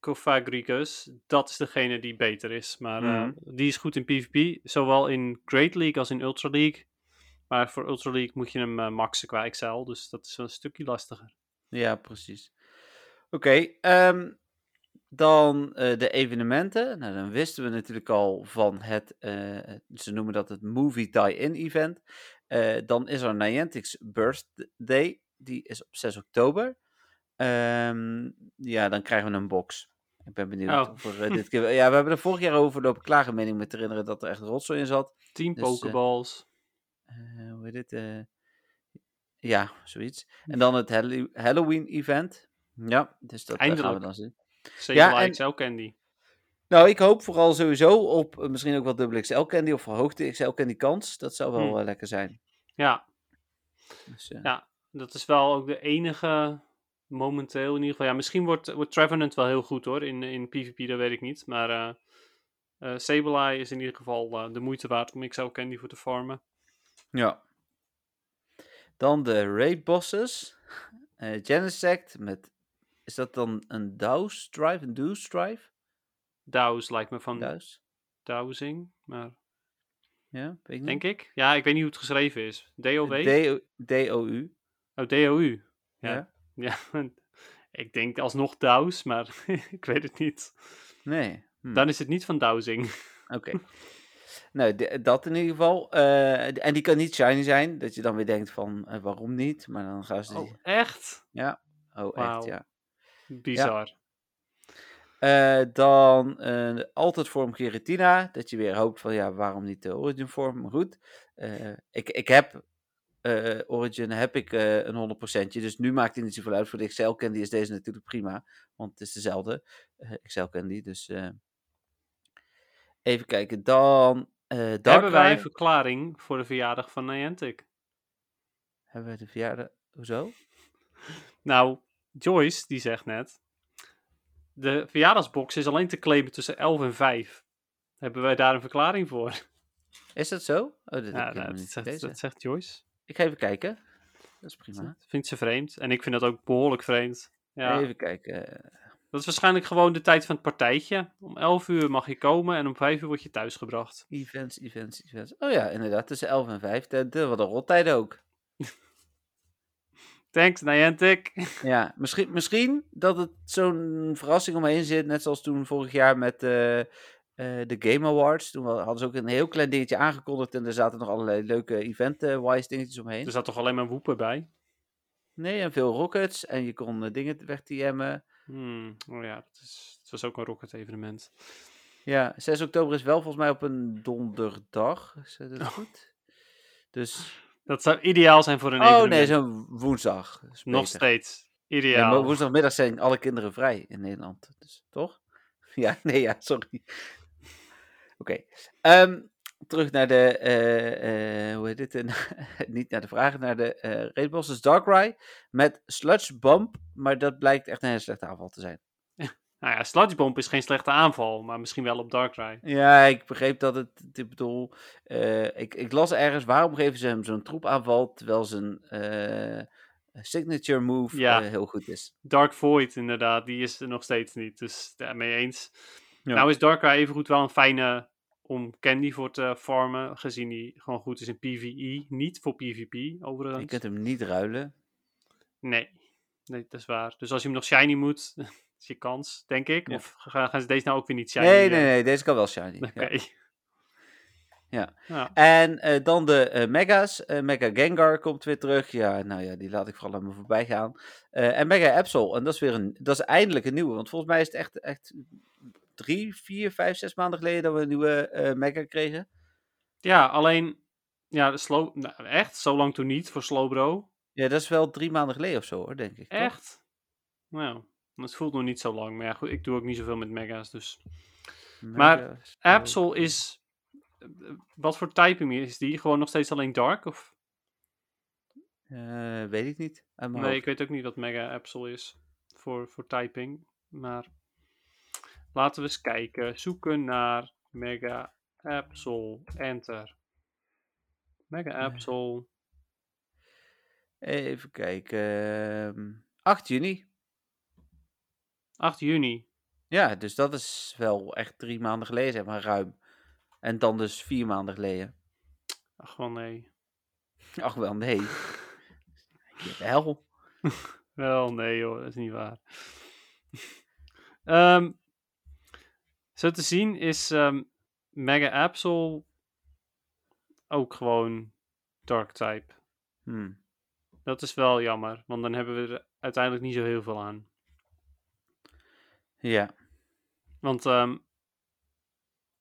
Speaker 4: Kofagricus. Dat is degene die beter is. Maar eh,
Speaker 3: Mhm.
Speaker 4: die is goed in PvP. Zowel in Great League als in Ultra League. Maar voor Ultra League moet je hem eh, maxen qua XL. Dus dat is wel een stukje lastiger.
Speaker 3: Ja, precies. Oké, ehm, dan eh, de evenementen. Nou, dan wisten we natuurlijk al van het, eh, ze noemen dat het Movie Tie-In Event. Eh, dan is er Niantic's Birthday, die is op 6 oktober. Ehm, ja, dan krijgen we een box. Ik ben benieuwd
Speaker 4: Oh.
Speaker 3: of er eh, dit keer... Ja, we hebben er vorig jaar over lopen klagen, meen ik me te herinneren, dat er echt rotzooi in zat.
Speaker 4: 10
Speaker 3: Dus, eh,
Speaker 4: Pokeballs.
Speaker 3: Eh, hoe heet dit? eh, ja, zoiets.
Speaker 4: Hm.
Speaker 3: En dan het Halli- Halloween-event. Ja, dus dat eh, gaan we
Speaker 4: Eindelijk.
Speaker 3: dan zien.
Speaker 4: 7
Speaker 3: ja, en-
Speaker 4: likes, elk candy.
Speaker 3: Nou, ik hoop vooral sowieso op eh, misschien ook wel dubbele XL-candy of verhoogde XL-candy kans. Dat zou wel
Speaker 4: Hmm.
Speaker 3: eh, lekker zijn.
Speaker 4: Ja,
Speaker 3: Dus, eh,
Speaker 4: Ja. Dat is wel ook de enige momenteel in ieder geval. Ja, misschien wordt, wordt Trevenant wel heel goed hoor. In, in PvP, dat weet ik niet. Maar eh eh, Sableye is in ieder geval eh, de moeite waard om XL Candy voor te farmen.
Speaker 3: ja. Dan de raid bosses. Eh Genesect met... Is dat dan een Douse Drive? Een Douse Drive?
Speaker 4: Dows lijkt me van
Speaker 3: Douse?
Speaker 4: Dowsing, maar
Speaker 3: Ja, weet ik niet.
Speaker 4: denk ik. Ja, ik weet niet hoe het geschreven is. DOW?
Speaker 3: Hm? D- D-O-U.
Speaker 4: oh, DOU.
Speaker 3: Ja.
Speaker 4: Ja. Ja, ik denk alsnog Dows, maar ik weet het niet.
Speaker 3: Nee. Hm.
Speaker 4: Dan is het niet van Dowsing.
Speaker 3: Oké. nou, de- dat in ieder geval. Eh, d- en die kan niet shiny zijn. Dat je dan weer denkt van, eh, waarom niet? Maar dan gaan ze... die-
Speaker 4: Oh, echt?
Speaker 3: Oh, echt,
Speaker 4: wauw.
Speaker 3: ja.
Speaker 4: Bizar.
Speaker 3: Eh, dan eh, altijd vorm Giratina. Dat je weer hoopt van, ja, waarom niet de origin vorm? Maar goed. eh, ik, ik heb... eh, origin heb ik eh, een 100 Dus nu maakt het niet zoveel uit. Voor de XL Candy is deze natuurlijk prima. Want het is dezelfde eh, XL Candy. Dus eh, even kijken. Dan eh
Speaker 4: Hebben wij
Speaker 3: Darkrai.
Speaker 4: een verklaring voor de verjaardag van Niantic?
Speaker 3: Hebben we de verjaardag... Hoezo?
Speaker 4: Nou, Joyce die zegt net. De verjaardagsbox is alleen te claimen tussen 11 en 5. Hebben wij daar een verklaring voor?
Speaker 3: Is dat zo? Oh, dat, heb ik
Speaker 4: Ja, nou,
Speaker 3: helemaal
Speaker 4: dat,
Speaker 3: niet
Speaker 4: zegt,
Speaker 3: gelezen.
Speaker 4: dat zegt Joyce.
Speaker 3: Ik ga even kijken. Dat is prima.
Speaker 4: Dat vindt ze vreemd. En ik vind dat ook behoorlijk vreemd. Ja,
Speaker 3: Even kijken.
Speaker 4: Dat is waarschijnlijk gewoon de tijd van het partijtje. Om 11 uur mag je komen en om 5 uur word je thuisgebracht.
Speaker 3: Events, events, events. Oh ja, inderdaad. Tussen 11 en 5. Dat, dat wat een rottijden ook.
Speaker 4: Thanks, Niantic.
Speaker 3: Ja, misschien, misschien dat het zo'n verrassing om me heen zit. Net zoals toen vorig jaar met eh, eh, de Game Awards. Toen wa- hadden ze ook een heel klein dingetje aangekondigd. En er zaten nog allerlei leuke event-wise dingetjes omheen.
Speaker 4: Er zat toch alleen maar woepen bij?
Speaker 3: Nee, en veel rockets. En je kon eh, dingen weg-TM'en.
Speaker 4: Hmm, oh ja, dat is, het was ook een rocket evenement.
Speaker 3: Ja, 6 oktober is wel volgens mij op een donderdag. Is dat
Speaker 4: Oh.
Speaker 3: goed? Dus.
Speaker 4: Dat zou ideaal zijn voor een
Speaker 3: oh
Speaker 4: evenement.
Speaker 3: nee, zo'n woensdag. is
Speaker 4: Nog
Speaker 3: beter.
Speaker 4: steeds.
Speaker 3: Nee, maar
Speaker 4: Ideaal.
Speaker 3: woensdagmiddag zijn alle kinderen vrij in Nederland. Dus toch? Ja, nee, ja, sorry. Oké. ehm, terug naar de. eh, eh, hoe heet dit? Niet naar de vragen, naar de eh Raid Bosses Darkrai. Met Sludge Bump. Maar dat blijkt echt een hele slechte aanval te zijn.
Speaker 4: Nou ja, Sludge Bomb is geen slechte aanval, maar misschien wel op Darkrai.
Speaker 3: Ja, ik begreep dat het. Ik bedoel, eh, ik, ik las ergens waarom geven ze hem zo'n troepaanval terwijl zijn eh, signature move
Speaker 4: Ja.
Speaker 3: eh, heel goed is.
Speaker 4: Dark Void, inderdaad, die is er nog steeds niet. Dus daarmee eens.
Speaker 3: Ja.
Speaker 4: Nou is Darkrai evengoed wel een fijne om candy voor te farmen, gezien die gewoon goed is in PvE. Niet voor PvP, overigens.
Speaker 3: Je kunt hem niet ruilen.
Speaker 4: Nee. nee, dat is waar. Dus als je hem nog shiny moet, is je kans, denk ik.
Speaker 3: Ja.
Speaker 4: Of gaan, gaan ze deze nou ook weer niet shiny?
Speaker 3: nee,
Speaker 4: eh,
Speaker 3: nee, nee, deze kan wel shiny. ja.
Speaker 4: Oké.
Speaker 3: Ja.
Speaker 4: Ja.
Speaker 3: En eh, dan de eh, mega's. Eh, Mega Gengar komt weer terug. Ja, nou ja, die laat ik vooral aan me voorbij gaan. Eh, en Mega Absol. En dat is weer een, dat is eindelijk een nieuwe. Want volgens mij is het echt, echt drie, vier, vijf, zes maanden geleden dat we een nieuwe eh, Mega kregen.
Speaker 4: Ja, alleen, ja, de slow, nou, echt, zo lang toen niet voor Slowbro.
Speaker 3: Ja, dat is wel drie maanden geleden of zo hoor, denk ik. toch?
Speaker 4: Echt? Nou, het voelt nog niet zo lang. Maar ja, goed, ik doe ook niet zoveel met mega's, dus.
Speaker 3: Mega
Speaker 4: Maar
Speaker 3: Absol.
Speaker 4: Absol is, eh, wat voor typing is die? Gewoon nog steeds alleen dark? Of?
Speaker 3: Eh, weet ik niet. Uit mijn
Speaker 4: Nee,
Speaker 3: hoofd.
Speaker 4: ik weet ook niet wat mega Absol is voor, voor typing. Maar laten we eens kijken. Zoeken naar mega Absol. Enter. Mega Absol.
Speaker 3: Even kijken. ehm, 8 juni.
Speaker 4: 8 juni.
Speaker 3: Ja, dus dat is wel echt drie maanden geleden, zeg maar, ruim. En dan dus vier maanden geleden.
Speaker 4: Ach, wel nee.
Speaker 3: Ach wel, nee. Hel.
Speaker 4: Wel, nee joh, dat is niet waar. Ehm, zo te zien is ehm, Mega Absol ook gewoon Dark Type.
Speaker 3: Hm.
Speaker 4: Dat is wel jammer, want dan hebben we er uiteindelijk niet zo heel veel aan.
Speaker 3: Ja,
Speaker 4: Want ehm,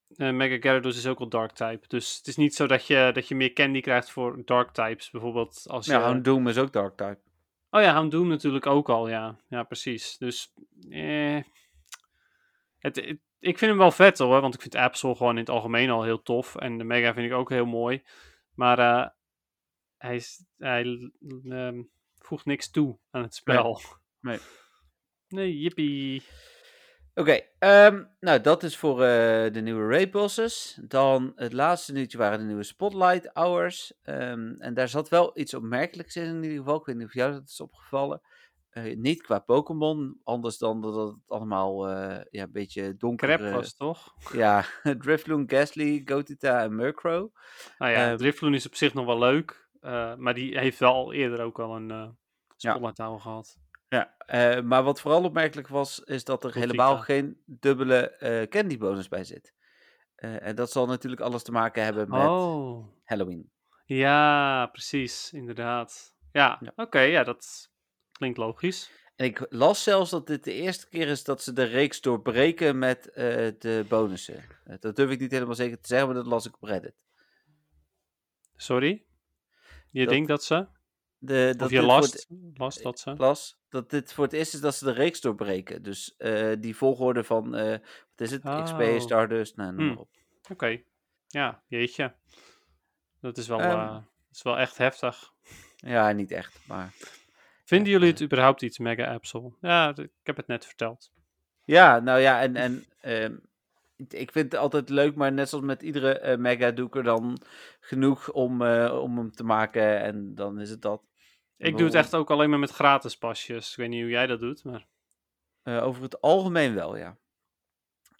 Speaker 4: eh, Mega Gyarados is ook al Dark Type. Dus het is niet zo dat je, dat je meer candy krijgt voor Dark Types. Bijvoorbeeld als
Speaker 3: ja
Speaker 4: je...
Speaker 3: Houndoom is ook Dark Type.
Speaker 4: Oh ja, Houndoom natuurlijk ook al, ja. Ja, precies. Dus, eh, het, het- ik vind hem wel vet hoor, want ik vind Absol gewoon in het algemeen al heel tof. En de Mega vind ik ook heel mooi. Maar eh, hij, is, hij l- ehm, voegt niks toe aan het spel.
Speaker 3: Nee.
Speaker 4: Nee, jippie.
Speaker 3: Oké, ehm, nou dat is voor eh, de nieuwe Ray Pulses. Dan het laatste nieuwtje waren de nieuwe Spotlight Hours. Ehm, en daar zat wel iets opmerkelijks in, in ieder geval. Ik weet niet of jou dat is opgevallen. Eh, niet qua Pokémon, anders dan dat het allemaal eh, ja, een beetje donker
Speaker 4: Crap was toch?
Speaker 3: Ja, Drifloon, Gastly, Gotita en Murkrow.
Speaker 4: Nou ja,
Speaker 3: eh,
Speaker 4: Drifloon is op zich nog wel leuk. eh, maar die heeft wel al eerder ook al een eh spotlight hour gehad.
Speaker 3: Ja, eh, maar wat vooral opmerkelijk was, is dat er
Speaker 4: Gotita.
Speaker 3: helemaal geen dubbele eh candy bonus bij zit. Eh, en dat zal natuurlijk alles te maken hebben met
Speaker 4: Oh.
Speaker 3: Halloween.
Speaker 4: Ja, precies, inderdaad. Ja,
Speaker 3: Ja.
Speaker 4: oké, ja, dat klinkt logisch.
Speaker 3: En ik las zelfs dat dit de eerste keer is dat ze de reeks doorbreken met eh, de bonussen. Eh, dat durf ik niet helemaal zeker te zeggen, maar dat las ik op Reddit.
Speaker 4: Sorry? Je
Speaker 3: Dat-
Speaker 4: denkt dat ze?
Speaker 3: De, Eh, dat
Speaker 4: Of je
Speaker 3: dit voor het-
Speaker 4: last? Last dat ze?
Speaker 3: las dat dit voor het eerst is dat ze de reeks doorbreken. Dus eh, die volgorde van, eh, wat is het,
Speaker 4: Oh.
Speaker 3: XP, Stardust, nou, noem maar
Speaker 4: Hmm.
Speaker 3: op.
Speaker 4: Oké, ja, jeetje. Dat is wel,
Speaker 3: Ehm.
Speaker 4: eh, dat is wel echt heftig.
Speaker 3: Ja, niet echt, maar...
Speaker 4: Vinden jullie het überhaupt iets, Mega Absol? Ja, d- ik heb het net verteld.
Speaker 3: Ja, nou ja, en, en ehm, ik- ik vind het altijd leuk, maar net zoals met iedere eh, mega doe ik er dan genoeg om, eh, om hem te maken en dan is het dat.
Speaker 4: Ik doe het
Speaker 3: bedoel,
Speaker 4: echt ook alleen maar met gratis pasjes. Ik weet niet hoe jij dat doet, maar...
Speaker 3: eh, over het algemeen wel, ja.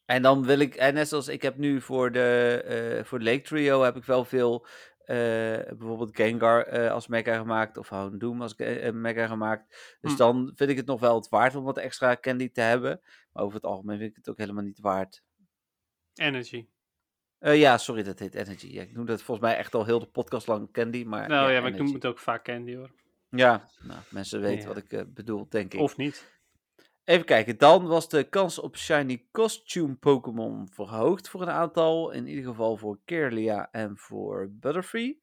Speaker 3: En dan wil ik, en net zoals ik heb nu voor de, eh, voor de Lake Trio, heb ik wel veel eh, bijvoorbeeld Gengar eh, als mega gemaakt of Houndoom als ge- eh, mega gemaakt. Dus
Speaker 4: Hm.
Speaker 3: dan vind ik het nog wel het waard om wat extra candy te hebben. Maar over het algemeen vind ik het ook helemaal niet waard.
Speaker 4: Energy.
Speaker 3: Eh, ja, sorry, dat heet Energy. Ja, ik noem dat volgens mij echt al heel de podcast lang Candy, maar...
Speaker 4: Nou ja, maar ik
Speaker 3: Energy.
Speaker 4: noem het ook vaak candy, hoor.
Speaker 3: Ja, nou, mensen weten
Speaker 4: Ja.
Speaker 3: wat ik eh, bedoel, denk ik.
Speaker 4: Of niet.
Speaker 3: Even kijken, dan was de kans op Shiny Costume Pokémon verhoogd voor een aantal. In ieder geval voor Kirlia en voor Butterfree.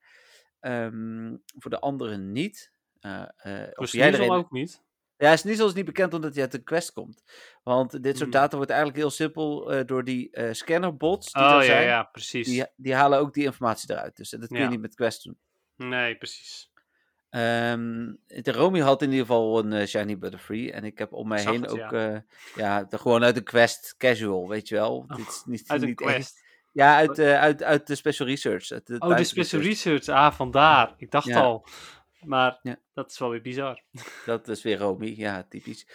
Speaker 3: Ehm, voor de anderen niet. Eh, eh, of
Speaker 4: Dus
Speaker 3: jij
Speaker 4: jij
Speaker 3: erin...
Speaker 4: ook niet.
Speaker 3: Ja, is niet zoals niet bekend omdat hij uit de quest komt. Want dit soort
Speaker 4: Hmm.
Speaker 3: data wordt eigenlijk heel simpel eh, door die eh, scannerbots die
Speaker 4: Oh,
Speaker 3: er
Speaker 4: ja,
Speaker 3: zijn.
Speaker 4: ja, precies.
Speaker 3: Die, die halen ook die informatie eruit. Dus dat kun je
Speaker 4: Ja.
Speaker 3: niet met quest doen.
Speaker 4: Nee, precies.
Speaker 3: Ehm, de Romy had in ieder geval een eh, Shiny Butterfree. En ik heb om mij
Speaker 4: zag
Speaker 3: heen
Speaker 4: het,
Speaker 3: ook.
Speaker 4: ja.
Speaker 3: eh, ja, de- gewoon uit de quest casual, weet je wel.
Speaker 4: Oh,
Speaker 3: Dit is niet,
Speaker 4: Uit een
Speaker 3: niet
Speaker 4: quest.
Speaker 3: echt- Ja, uit, eh, uit, uit de special research. uit
Speaker 4: Oh,
Speaker 3: time
Speaker 4: de special
Speaker 3: research.
Speaker 4: research. Ah, vandaar. Ik dacht
Speaker 3: Ja.
Speaker 4: al. Maar
Speaker 3: Ja.
Speaker 4: dat is wel weer bizar.
Speaker 3: Dat is weer Romy, ja, typisch.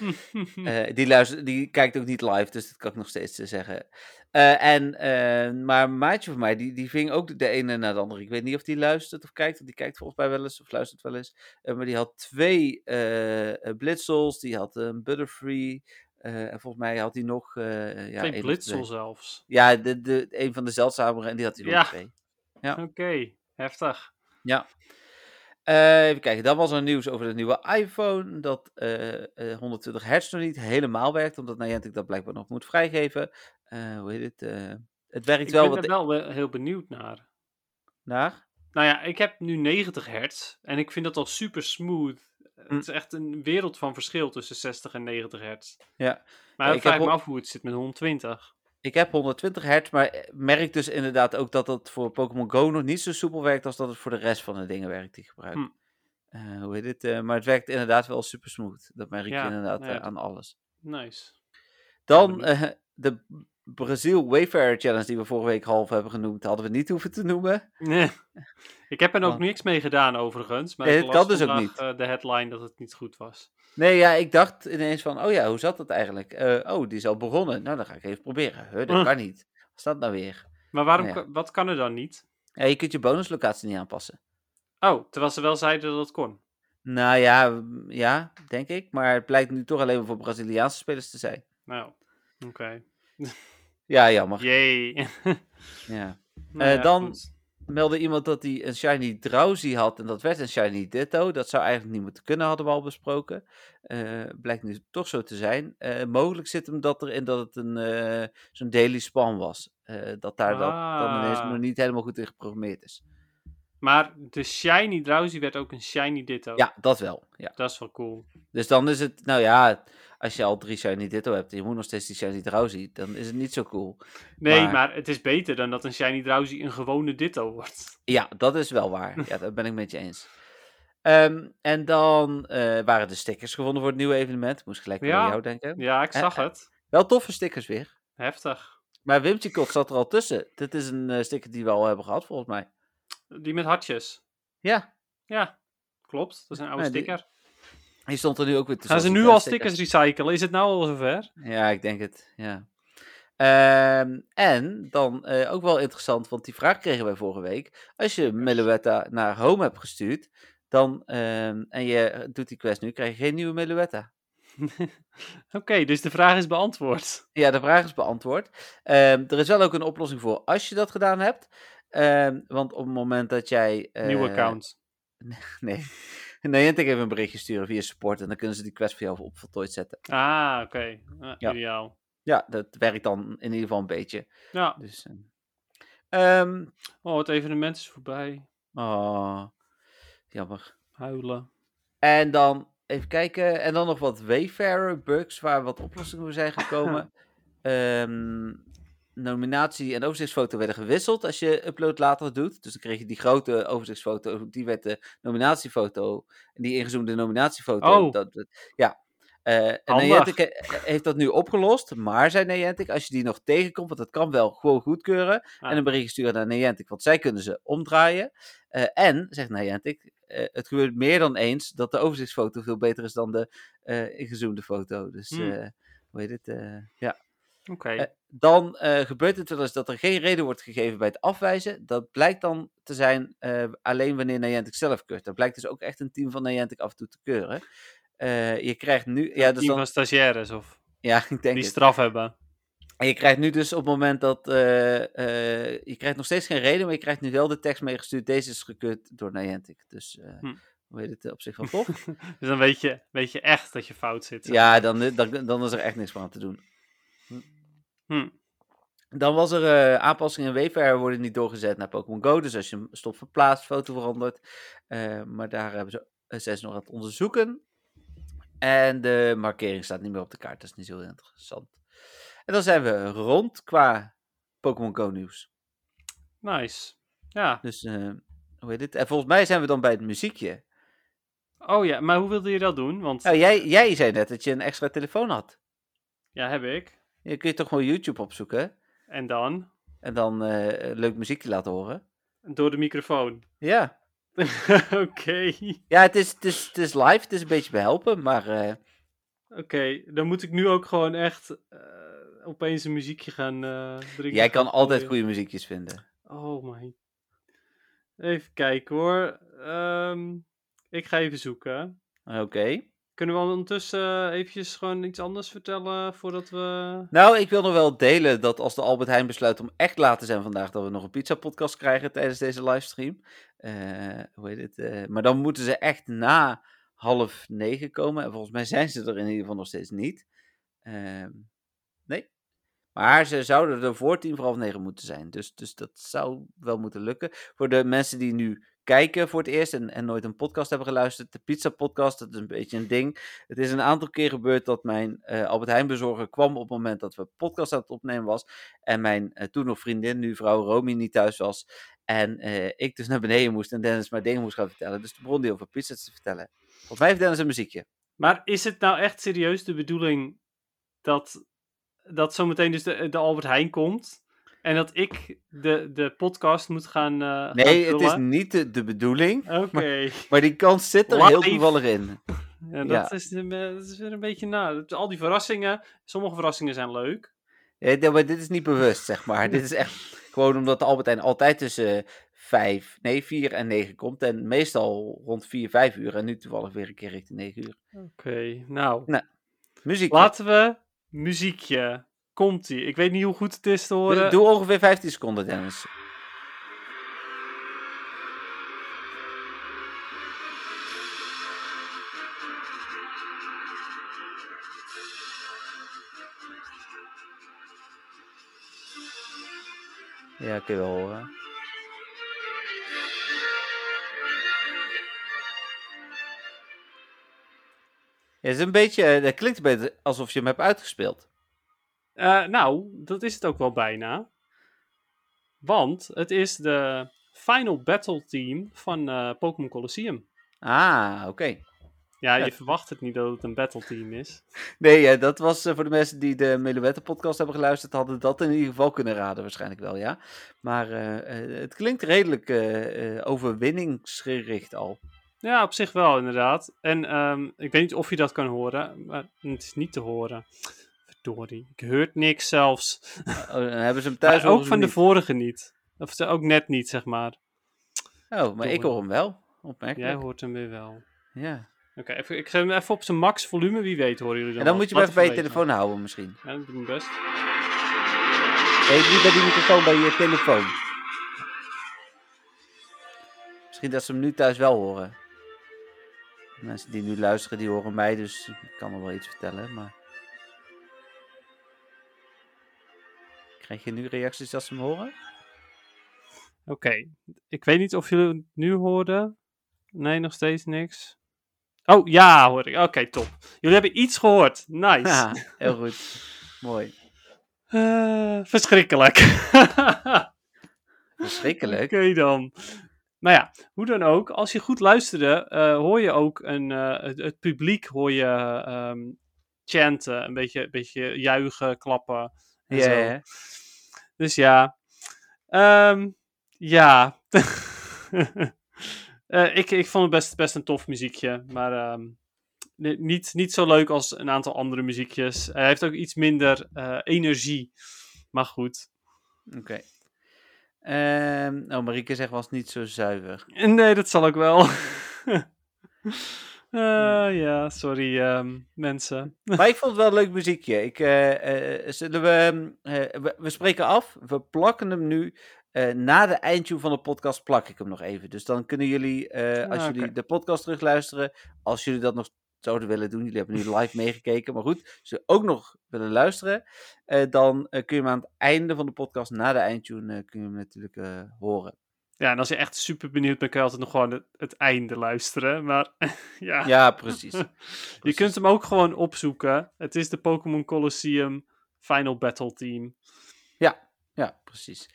Speaker 3: Eh, die, luistert, die kijkt ook niet live, dus dat kan ik nog steeds eh, zeggen. Eh, en, eh, maar een maatje van mij, die, die ving ook de ene na de andere. Ik weet niet of die luistert of kijkt, want die kijkt volgens mij wel eens of luistert wel eens. Eh, maar die had twee eh eh, blitzels, die had een butterfree. eh, en volgens mij had hij nog... eh ja, één of
Speaker 4: Geen
Speaker 3: twee.
Speaker 4: blitzel zelfs.
Speaker 3: Ja, de, de, een van de zeldzamere en die had hij nog
Speaker 4: Ja.
Speaker 3: twee. Ja.
Speaker 4: Oké, heftig.
Speaker 3: Ja. Eh, even kijken, dan was er nieuws over de nieuwe iPhone. Dat eh, eh, 120 hertz nog niet helemaal werkt, omdat Niantic dat blijkbaar nog moet vrijgeven. Eh, hoe heet het? eh, het werkt
Speaker 4: Ik
Speaker 3: wel
Speaker 4: ben
Speaker 3: wat
Speaker 4: er wel we- heel benieuwd naar.
Speaker 3: naar.
Speaker 4: Nou ja, ik heb nu 90 hertz en ik vind dat al super smooth.
Speaker 3: Hm.
Speaker 4: Het is echt een wereld van verschil tussen 60 en 90 hertz.
Speaker 3: Ja.
Speaker 4: Maar
Speaker 3: Ja,
Speaker 4: ik
Speaker 3: ik heb
Speaker 4: vraag ik me
Speaker 3: ook-
Speaker 4: af hoe het zit met 120.
Speaker 3: Ik heb 120 hertz, maar eh, merk dus inderdaad ook dat dat voor Pokémon Go nog niet zo soepel werkt als dat het voor de rest van de dingen werkt die ik gebruik.
Speaker 4: Hm.
Speaker 3: Eh, hoe heet het? eh, maar het werkt inderdaad wel super smooth. Dat merk
Speaker 4: Ja,
Speaker 3: je inderdaad
Speaker 4: nou ja,
Speaker 3: eh, aan alles.
Speaker 4: Nice.
Speaker 3: Dan
Speaker 4: Helemaal
Speaker 3: eh, de Brazil Wayfarer Challenge, die we vorige week half hebben genoemd, hadden we niet hoeven te noemen.
Speaker 4: Nee. Ik heb er ook
Speaker 3: Want-
Speaker 4: niks mee gedaan overigens. Maar
Speaker 3: Nee,
Speaker 4: ik
Speaker 3: het
Speaker 4: las
Speaker 3: kan dus ook
Speaker 4: vandaag,
Speaker 3: niet.
Speaker 4: eh, de headline dat het niet goed was.
Speaker 3: Nee, ja, ik dacht ineens van, oh ja, hoe zat dat eigenlijk? Eh, oh, die is al begonnen. Nou, dan ga ik even proberen. Huh, dat
Speaker 4: Hm.
Speaker 3: kan niet. Wat is dat nou weer?
Speaker 4: Maar waarom,
Speaker 3: Nou ja.
Speaker 4: kan- wat kan er dan niet?
Speaker 3: Ja, je kunt je bonuslocatie niet aanpassen.
Speaker 4: Oh, terwijl ze wel zeiden dat het kon.
Speaker 3: Nou ja, mm, ja, denk ik. Maar het blijkt nu toch alleen maar voor Braziliaanse spelers te zijn.
Speaker 4: Nou, oké.
Speaker 3: Ja, jammer.
Speaker 4: Jee. Nou
Speaker 3: Ja.
Speaker 4: ja,
Speaker 3: Eh, dan-
Speaker 4: goed.
Speaker 3: Meldde iemand dat hij een Shiny Drowsy had en dat werd een Shiny Ditto. Dat zou eigenlijk niet moeten kunnen, hadden we al besproken. Eh, blijkt nu toch zo te zijn. Eh, mogelijk zit hem dat erin dat het een, eh, zo'n daily spam was. Eh, dat daar dat dan ineens
Speaker 4: Ah.
Speaker 3: nog niet helemaal goed in geprogrammeerd is.
Speaker 4: Maar de shiny drowsy werd ook een shiny ditto.
Speaker 3: Ja, dat wel. Ja.
Speaker 4: Dat is wel cool.
Speaker 3: Dus dan is het, nou ja, als je al drie Shiny Ditto hebt en je moet nog steeds die Shiny Drowsy, dan is het niet zo cool.
Speaker 4: Nee, maar,
Speaker 3: Maar-
Speaker 4: het is beter dan dat een shiny drowsy een gewone ditto wordt.
Speaker 3: Ja, dat is wel waar. Ja, dat ben ik met je eens. Ehm, en dan eh, waren de stickers gevonden voor het nieuwe evenement. Moest gelijk weer
Speaker 4: Ja.
Speaker 3: aan jou denken.
Speaker 4: Ja, ik
Speaker 3: Eh,
Speaker 4: zag
Speaker 3: eh.
Speaker 4: het.
Speaker 3: Wel toffe stickers weer.
Speaker 4: Heftig.
Speaker 3: Maar Wimtje Kot zat er al tussen. Dit is een eh, sticker die we al hebben gehad, volgens mij.
Speaker 4: Die met hartjes.
Speaker 3: Ja,
Speaker 4: Ja, klopt. Dat is een oude
Speaker 3: Ja, die-
Speaker 4: sticker.
Speaker 3: die stond er nu ook weer tussen.
Speaker 4: Gaan ze
Speaker 3: als die
Speaker 4: nu al
Speaker 3: stickers-
Speaker 4: stickers recyclen? Is het nou al zover?
Speaker 3: Ja, ik denk het, ja. Ehm, en dan eh, ook wel interessant, want die vraag kregen wij vorige week. Als je Meluetta naar home hebt gestuurd, dan, ehm, en je doet die quest nu, krijg je geen nieuwe Meluetta.
Speaker 4: Oké, dus de vraag is beantwoord.
Speaker 3: Ja, de vraag is beantwoord. Ehm, er is wel ook een oplossing voor als je dat gedaan hebt. Ehm, want op het moment dat jij...
Speaker 4: Nieuwe
Speaker 3: eh,
Speaker 4: account.
Speaker 3: Nee. Niantic even een berichtje sturen via support en dan kunnen ze die quest voor jou op voltooid zetten.
Speaker 4: Ah, oké. Ah,
Speaker 3: Ja.
Speaker 4: Ideaal.
Speaker 3: Ja, dat werkt dan in ieder geval een beetje.
Speaker 4: Ja.
Speaker 3: Dus, ehm, ehm,
Speaker 4: Oh, het evenement is voorbij.
Speaker 3: Oh, jammer.
Speaker 4: Huilen.
Speaker 3: En dan even kijken. En dan nog wat Wayfarer bugs waar wat oplossingen voor zijn gekomen. Ehm, nominatie en overzichtsfoto werden gewisseld als je upload later doet. Dus dan kreeg je die grote overzichtsfoto, die werd de nominatiefoto. En die ingezoomde nominatiefoto.
Speaker 4: Oh.
Speaker 3: Dat, dat- ja. Eh en
Speaker 4: Handig.
Speaker 3: Niantic he- heeft dat nu opgelost. Maar, zei Niantic, als je die nog tegenkomt, want dat kan wel gewoon goedkeuren.
Speaker 4: Ah.
Speaker 3: En een berichtje sturen naar Niantic, want zij kunnen ze omdraaien. Eh, en, zegt Niantic, eh, het gebeurt meer dan eens dat de overzichtsfoto veel beter is dan de eh ingezoomde foto. Dus,
Speaker 4: Hmm.
Speaker 3: eh, hoe heet het? eh, ja.
Speaker 4: Oké.
Speaker 3: eh, Dan eh, gebeurt het wel eens dat er geen reden wordt gegeven bij het afwijzen. Dat blijkt dan te zijn eh, alleen wanneer Niantic zelf keurt. Dat blijkt dus ook echt een team van Niantic af en toe te keuren. Eh, je krijgt nu... Ja, dus
Speaker 4: Team
Speaker 3: dan,
Speaker 4: van stagiaires of
Speaker 3: ja, ik denk
Speaker 4: die
Speaker 3: het.
Speaker 4: straf hebben.
Speaker 3: En je krijgt nu dus op het moment dat. eh, eh, je krijgt nog steeds geen reden, maar je krijgt nu wel de tekst meegestuurd. Deze is gekeurd door Niantic. Dus eh
Speaker 4: Hm.
Speaker 3: hoe heet het eh, op zich wel tof?
Speaker 4: Dus dan weet je, weet je echt dat je fout zit. zeg
Speaker 3: ja, dan, eh, dan, dan is er echt niks meer aan te doen.
Speaker 4: Hm.
Speaker 3: Dan was er eh, aanpassingen in Wayfair worden niet doorgezet naar Pokémon Go. Dus als je hem stopt verplaatst, foto verandert. Eh, maar daar hebben ze, eh, zijn ze nog aan het onderzoeken. En de markering staat niet meer op de kaart. Dat is niet zo heel interessant. En dan zijn we rond qua Pokémon Go nieuws.
Speaker 4: Nice. Ja.
Speaker 3: Dus eh, hoe heet dit? En volgens mij zijn we dan bij het muziekje.
Speaker 4: Oh ja, maar hoe wilde je dat doen? Want
Speaker 3: Nou, jij, jij zei net dat je een extra telefoon had.
Speaker 4: ja, heb ik.
Speaker 3: Je kun je toch gewoon YouTube opzoeken
Speaker 4: En dan
Speaker 3: en dan eh, leuk muziekje laten horen.
Speaker 4: door de microfoon.
Speaker 3: Ja,
Speaker 4: Oké.
Speaker 3: Ja, het is, het, is, het is live, het is een beetje behelpen, maar eh,
Speaker 4: Oké, dan moet ik nu ook gewoon echt eh, opeens een muziekje gaan eh drinken.
Speaker 3: jij kan
Speaker 4: Gaan
Speaker 3: altijd
Speaker 4: gooien.
Speaker 3: goede muziekjes vinden.
Speaker 4: Oh my. Even kijken hoor. Ehm, ik ga even zoeken.
Speaker 3: Oké.
Speaker 4: Kunnen we ondertussen eh, eventjes gewoon iets anders vertellen voordat we...
Speaker 3: Nou, ik wil nog wel delen dat als de Albert Heijn besluit om echt laat te zijn vandaag, dat we nog een pizza-podcast krijgen tijdens deze livestream. Eh, hoe heet het? eh, maar dan moeten ze echt na half negen komen. En volgens mij zijn ze er in ieder geval nog steeds niet. Ehm, nee. Maar ze zouden er voor tien voor half negen moeten zijn. Dus, dus dat zou wel moeten lukken. Voor de mensen die nu kijken voor het eerst en, en nooit een podcast hebben geluisterd. De Pizza Podcast, dat is een beetje een ding. Het is een aantal keer gebeurd dat mijn eh, Albert Heijn bezorger kwam op het moment dat we podcast aan het opnemen was. En mijn eh, toen nog vriendin, nu vrouw Romy, niet thuis was. En eh, ik dus naar beneden moest en Dennis maar dingen moest gaan vertellen. Dus de bron die over pizza's te vertellen. Volgens mij heeft Dennis een muziekje.
Speaker 4: Maar is het nou echt serieus de bedoeling dat, dat zometeen dus de, de Albert Heijn komt... En dat ik de, de podcast moet gaan. eh, gaan
Speaker 3: Nee, het is
Speaker 4: vullen?
Speaker 3: niet de, de bedoeling.
Speaker 4: Oké.
Speaker 3: Maar die kans zit er heel
Speaker 4: Live.
Speaker 3: toevallig in.
Speaker 4: Ja, dat, Is, een be- dat is weer een beetje na. Dat- Al die verrassingen. Sommige verrassingen zijn leuk.
Speaker 3: Ja, d- Eh, maar dit is niet bewust, zeg maar. dit is echt gewoon omdat de Albert Heijn altijd tussen eh, vijf, nee, vier en negen komt. En meestal rond vier, vijf uur. En nu toevallig weer een keer richting negen uur.
Speaker 4: Oké, nou.
Speaker 3: Muziek.
Speaker 4: Laten we muziekje. Komt-ie. Ik weet niet hoe goed het is te
Speaker 3: Doe-
Speaker 4: horen.
Speaker 3: Doe ongeveer 15 seconden, Dennis. Ja, kun je wel horen. Ja, het is een beetje, eh, dat klinkt een beetje alsof je hem hebt uitgespeeld.
Speaker 4: Eh, nou, dat is het ook wel bijna. Want het is de Final Battle Team van eh, Pokémon Colosseum.
Speaker 3: Ah, oké.
Speaker 4: Ja,
Speaker 3: Ja.
Speaker 4: je verwacht het niet dat het een battle team is.
Speaker 3: Nee, eh, dat was eh, voor de mensen die de Meluette podcast hebben geluisterd, hadden dat in ieder geval kunnen raden waarschijnlijk wel, ja. Maar eh, eh, het klinkt redelijk eh, eh, overwinningsgericht al.
Speaker 4: Ja, op zich wel, inderdaad. En ehm, ik weet niet of je dat kan horen, maar het is niet te horen. Verdorie, ik hoort niks zelfs.
Speaker 3: Oh, dan hebben ze hem
Speaker 4: Maar
Speaker 3: thuis
Speaker 4: ook
Speaker 3: horen ze
Speaker 4: van de
Speaker 3: niet.
Speaker 4: vorige niet. Of ze- ook net niet, zeg maar.
Speaker 3: Oh, maar ik hoor hem wel. Opmerkelijk.
Speaker 4: Jij hoort hem weer wel. Oké,
Speaker 3: Ja.
Speaker 4: even- ik geef hem even op zijn max volume. Wie weet horen jullie dan
Speaker 3: En dan
Speaker 4: wel.
Speaker 3: moet je hem even bij je
Speaker 4: Laat het
Speaker 3: telefoon houden misschien.
Speaker 4: weten. Ja, dat doe ik best.
Speaker 3: Nee, niet bij die microfoon, bij je telefoon. Misschien dat ze hem nu thuis wel horen. De mensen die nu luisteren, die horen mij, dus ik kan er wel iets vertellen, maar... Krijg je nu reacties als ze hem horen?
Speaker 4: Oké, ik weet niet of jullie het nu hoorden. Nee, nog steeds niks. Oh, ja, hoor ik. Oké, top. Jullie hebben iets gehoord. Nice.
Speaker 3: Ja, heel goed. Mooi.
Speaker 4: Eh, verschrikkelijk.
Speaker 3: Verschrikkelijk.
Speaker 4: Oké dan. Nou ja, hoe dan ook, als je goed luisterde, eh, hoor je ook een, eh, het, het publiek hoor je ehm, chanten, een beetje, een beetje juichen, klappen. en
Speaker 3: Ja,
Speaker 4: zo.
Speaker 3: ja.
Speaker 4: Dus ja, Ehm, ja. Eh, ik, ik vond het best, best een tof muziekje, maar ehm, ni- niet, niet zo leuk als een aantal andere muziekjes. Hij heeft ook iets minder eh, energie, maar goed.
Speaker 3: Oké. Ehm, oh, Marieke zegt was niet zo zuiver.
Speaker 4: Nee, dat zal ik wel. Eh, ja, sorry ehm, mensen.
Speaker 3: Maar ik vond het wel een leuk muziekje. Ik, eh, eh, zullen we, eh, we, we spreken af. We plakken hem nu. eh, na de eindtune van de podcast plak ik hem nog even. Dus dan kunnen jullie, eh, als
Speaker 4: Ah,
Speaker 3: jullie
Speaker 4: oké.
Speaker 3: de podcast terugluisteren, als jullie dat nog zouden willen doen, jullie hebben nu live meegekeken, maar goed, als jullie ook nog willen luisteren, eh, dan eh, kun je hem aan het einde van de podcast, na de eindtune, eh, kun je hem natuurlijk eh, horen.
Speaker 4: Ja, en als je echt super benieuwd bent, kun je altijd nog gewoon het, het einde luisteren. Maar ja,
Speaker 3: Ja, precies.
Speaker 4: je kunt hem ook gewoon opzoeken. Het is de Pokémon Colosseum Final Battle Team.
Speaker 3: Ja, precies.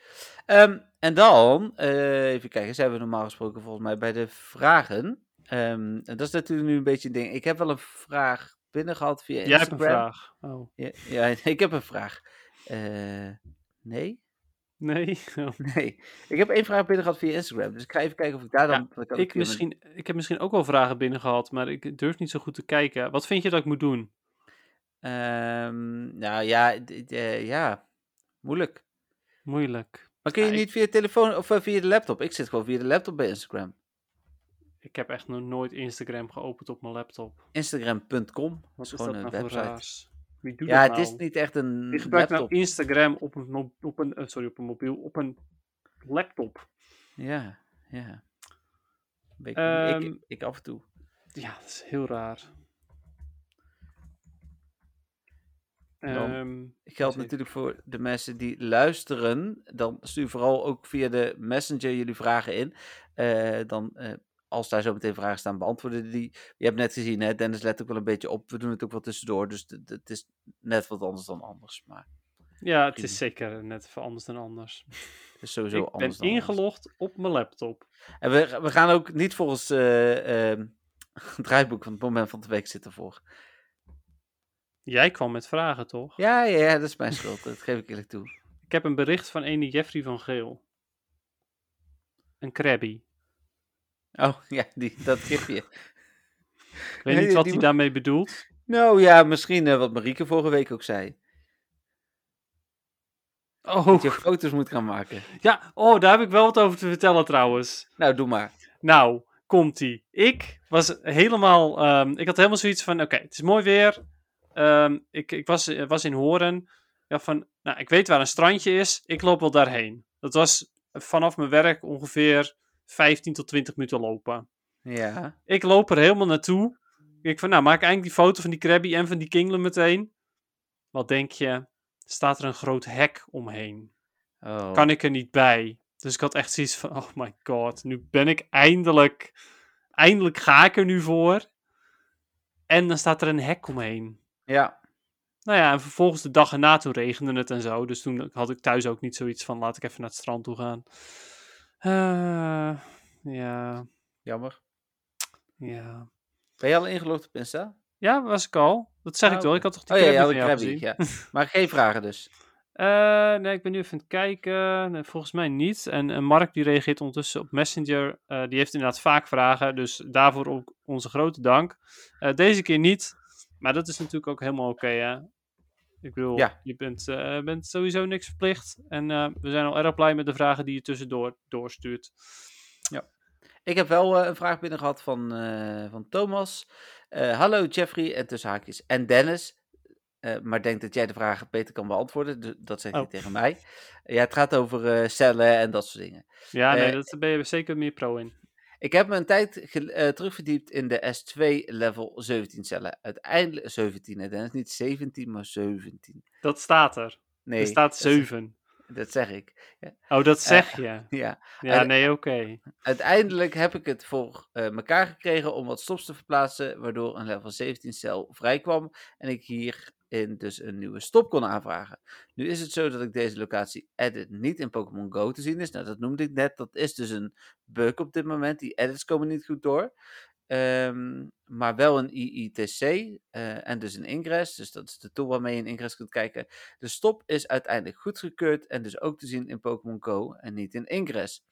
Speaker 3: Ehm, en dan, eh, even kijken, zijn we normaal gesproken volgens mij bij de vragen. Ehm, en dat is natuurlijk nu een beetje een ding. Ik heb wel een vraag binnen gehad via
Speaker 4: Jij hebt een
Speaker 3: Instagram.
Speaker 4: vraag. Oh,
Speaker 3: Ja, ja, ik heb een vraag. Eh, nee?
Speaker 4: Nee. oh.
Speaker 3: Nee. Ik heb één vraag binnen gehad via Instagram. Dus ik ga even kijken of ik daar dan...
Speaker 4: Ja,
Speaker 3: wat kan
Speaker 4: Ik,
Speaker 3: kunnen.
Speaker 4: misschien, ik heb misschien ook wel vragen binnen gehad, maar ik durf niet zo goed te kijken. Wat vind je dat ik moet doen?
Speaker 3: Ehm, nou ja, d- d- eh, ja, moeilijk.
Speaker 4: Moeilijk.
Speaker 3: Maar kun je
Speaker 4: Ja, ik-
Speaker 3: niet via telefoon of eh, via de laptop? Ik zit gewoon via de laptop bij Instagram.
Speaker 4: Ik heb echt nog nooit Instagram geopend op mijn laptop.
Speaker 3: Instagram.com. Dat
Speaker 4: Wat
Speaker 3: is gewoon een
Speaker 4: nou voor
Speaker 3: website.
Speaker 4: raars? Wie doet
Speaker 3: Ja,
Speaker 4: dat
Speaker 3: het is
Speaker 4: nou?
Speaker 3: niet echt een
Speaker 4: Wie gebruikt
Speaker 3: laptop.
Speaker 4: nou Instagram op een, mo- op een, eh, sorry, op een mobiel, op een laptop?
Speaker 3: Ja, ja. Ik,
Speaker 4: Ehm,
Speaker 3: ik, ik af en toe.
Speaker 4: Ja, dat is heel raar.
Speaker 3: Dan-
Speaker 4: Ehm,
Speaker 3: Geldt
Speaker 4: zeker.
Speaker 3: natuurlijk voor de mensen die luisteren. Dan stuur vooral ook via de messenger jullie vragen in. Eh, dan, eh, als daar zo meteen vragen staan, beantwoorden die. Je hebt net gezien, hè, Dennis let ook wel een beetje op. We doen het ook wel tussendoor. Dus d- d- het is net wat anders dan anders. Maar
Speaker 4: ja, het
Speaker 3: prima.
Speaker 4: is zeker net even anders dan anders.
Speaker 3: het is sowieso
Speaker 4: ik ben
Speaker 3: anders dan anders.
Speaker 4: ingelogd op mijn laptop.
Speaker 3: En we, we gaan ook niet volgens eh, ehm, het draaiboek van het moment van de week zitten voor.
Speaker 4: Jij kwam met vragen, toch?
Speaker 3: Ja, ja, ja, dat is mijn schuld. Dat geef ik eerlijk toe.
Speaker 4: Ik heb een bericht van ene Jeffrey van Geel. Een Krabby.
Speaker 3: Oh, ja, die, dat gifje.
Speaker 4: Ik weet
Speaker 3: Nee,
Speaker 4: niet wat
Speaker 3: die
Speaker 4: hij
Speaker 3: mo-
Speaker 4: daarmee bedoelt.
Speaker 3: Nou ja, misschien eh, wat Marieke vorige week ook zei. Dat
Speaker 4: Oh,
Speaker 3: je foto's moet gaan maken.
Speaker 4: ja, oh, daar heb ik wel wat over te vertellen trouwens.
Speaker 3: Nou, doe maar.
Speaker 4: Nou, komt-ie. Ik was helemaal. ehm, ik had helemaal zoiets van: oké, het is mooi weer. Ehm, ik ik was, eh, was in Horen. Ja, van, nou, ik weet waar een strandje is. Ik loop wel daarheen. Dat was vanaf mijn werk ongeveer 15 tot 20 minuten lopen.
Speaker 3: Ja.
Speaker 4: Ik loop er helemaal naartoe. Ik van, nou, maak eigenlijk die foto van die Krabby en van die Kingler meteen. Wat denk je? Staat er een groot hek omheen?
Speaker 3: Oh.
Speaker 4: kan ik er niet bij. Dus ik had echt zoiets van, oh my god, nu ben ik eindelijk, eindelijk ga ik er nu voor. En dan staat er een hek omheen.
Speaker 3: Ja.
Speaker 4: Nou ja, en vervolgens de dag erna toen regende het en zo. Dus toen had ik thuis ook niet zoiets van, laat ik even naar het strand toe gaan. Eh, ja,
Speaker 3: Jammer.
Speaker 4: ja.
Speaker 3: Ben je al ingelogd op Insta?
Speaker 4: Ja, was ik al. Dat zeg
Speaker 3: Ah,
Speaker 4: ik wel.
Speaker 3: oké.
Speaker 4: Ik had toch die
Speaker 3: Oh ja,
Speaker 4: krabby
Speaker 3: ja,
Speaker 4: van
Speaker 3: de
Speaker 4: jou
Speaker 3: Krabby,
Speaker 4: gezien?
Speaker 3: ja. Maar geen vragen dus.
Speaker 4: Eh, nee, ik ben nu even aan het kijken. Nee, volgens mij niet. En, eh, Mark die reageert ondertussen op Messenger. Eh, die heeft inderdaad vaak vragen. Dus daarvoor ook onze grote dank. Eh, deze keer niet. Maar dat is natuurlijk ook helemaal oké. hè? ik bedoel,
Speaker 3: Ja.
Speaker 4: je bent, eh, bent sowieso niks verplicht. En eh, we zijn al erg blij met de vragen die je tussendoor doorstuurt.
Speaker 3: Ik heb wel eh, een vraag binnen gehad van, eh, van Thomas. Eh, hallo Jeffrey en tussen haakjes en Dennis. Eh, maar denk dat jij de vraag beter kan beantwoorden. Dus dat zegt hij
Speaker 4: Oh.
Speaker 3: tegen mij. Ja, het gaat over eh, cellen en dat soort dingen.
Speaker 4: Ja, nee,
Speaker 3: Eh,
Speaker 4: dat daar ben je zeker meer pro in.
Speaker 3: Ik heb me een tijd gel- eh, terugverdiept in de S2 level 17 cellen. Uiteindelijk 17, hè, Dennis. Niet 17, maar 17.
Speaker 4: Dat staat er.
Speaker 3: Nee,
Speaker 4: er staat
Speaker 3: dat- Eh,
Speaker 4: 7.
Speaker 3: Dat zeg ik.
Speaker 4: Oh, dat zeg je.
Speaker 3: Ja.
Speaker 4: Ja,
Speaker 3: eh,
Speaker 4: nee, oké.
Speaker 3: Uiteindelijk heb ik het voor eh, elkaar gekregen om wat stops te verplaatsen, waardoor een level 17 cel vrijkwam en ik hierin dus een nieuwe stop kon aanvragen. Nu is het zo dat ik deze locatie edit niet in Pokémon Go te zien is. Nou, dat noemde ik net. Dat is dus een bug op dit moment. Die edits komen niet goed door. Ehm, maar wel een IITC eh, en dus een ingress. Dus dat is de tool waarmee je een ingress kunt kijken. De stop is uiteindelijk goedgekeurd en dus ook te zien in Pokémon Go en niet in ingress.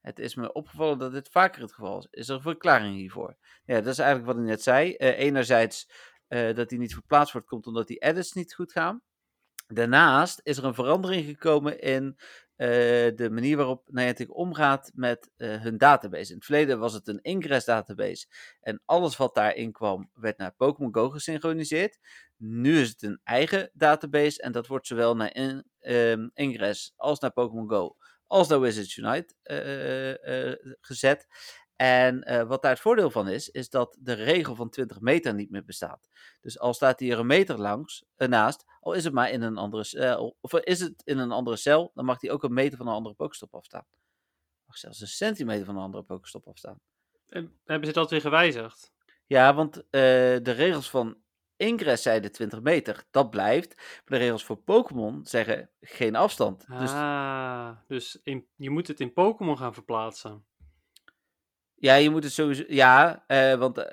Speaker 3: Het is me opgevallen dat dit vaker het geval is. Is er een verklaring hiervoor? Ja, dat is eigenlijk wat ik net zei. Eh, enerzijds eh, dat die niet verplaatst wordt, komt omdat die edits niet goed gaan. Daarnaast is er een verandering gekomen in eh, de manier waarop Niantic omgaat met eh, hun database. In het verleden was het een ingress database en alles wat daarin kwam werd naar Pokémon Go gesynchroniseerd. Nu is het een eigen database en dat wordt zowel naar in, ehm, ingress als naar Pokémon Go als naar Wizards Unite eh, eh, gezet. En eh, wat daar het voordeel van is, is dat de regel van 20 meter niet meer bestaat. Dus al staat hij er een meter langs, eh, naast, al is het maar in een andere cel, eh, of is het in een andere cel, dan mag hij ook een meter van een andere pokestop afstaan. Mag zelfs een centimeter van een andere pokestop afstaan. eh,
Speaker 4: En Hebben ze dat weer gewijzigd?
Speaker 3: Ja, want eh, de regels van Ingress zeiden 20 meter, dat blijft. Maar de regels voor Pokémon zeggen geen afstand. Dus
Speaker 4: ah, dus in, je moet het in Pokémon gaan verplaatsen.
Speaker 3: ja, je moet het sowieso. Ja, eh, want eh,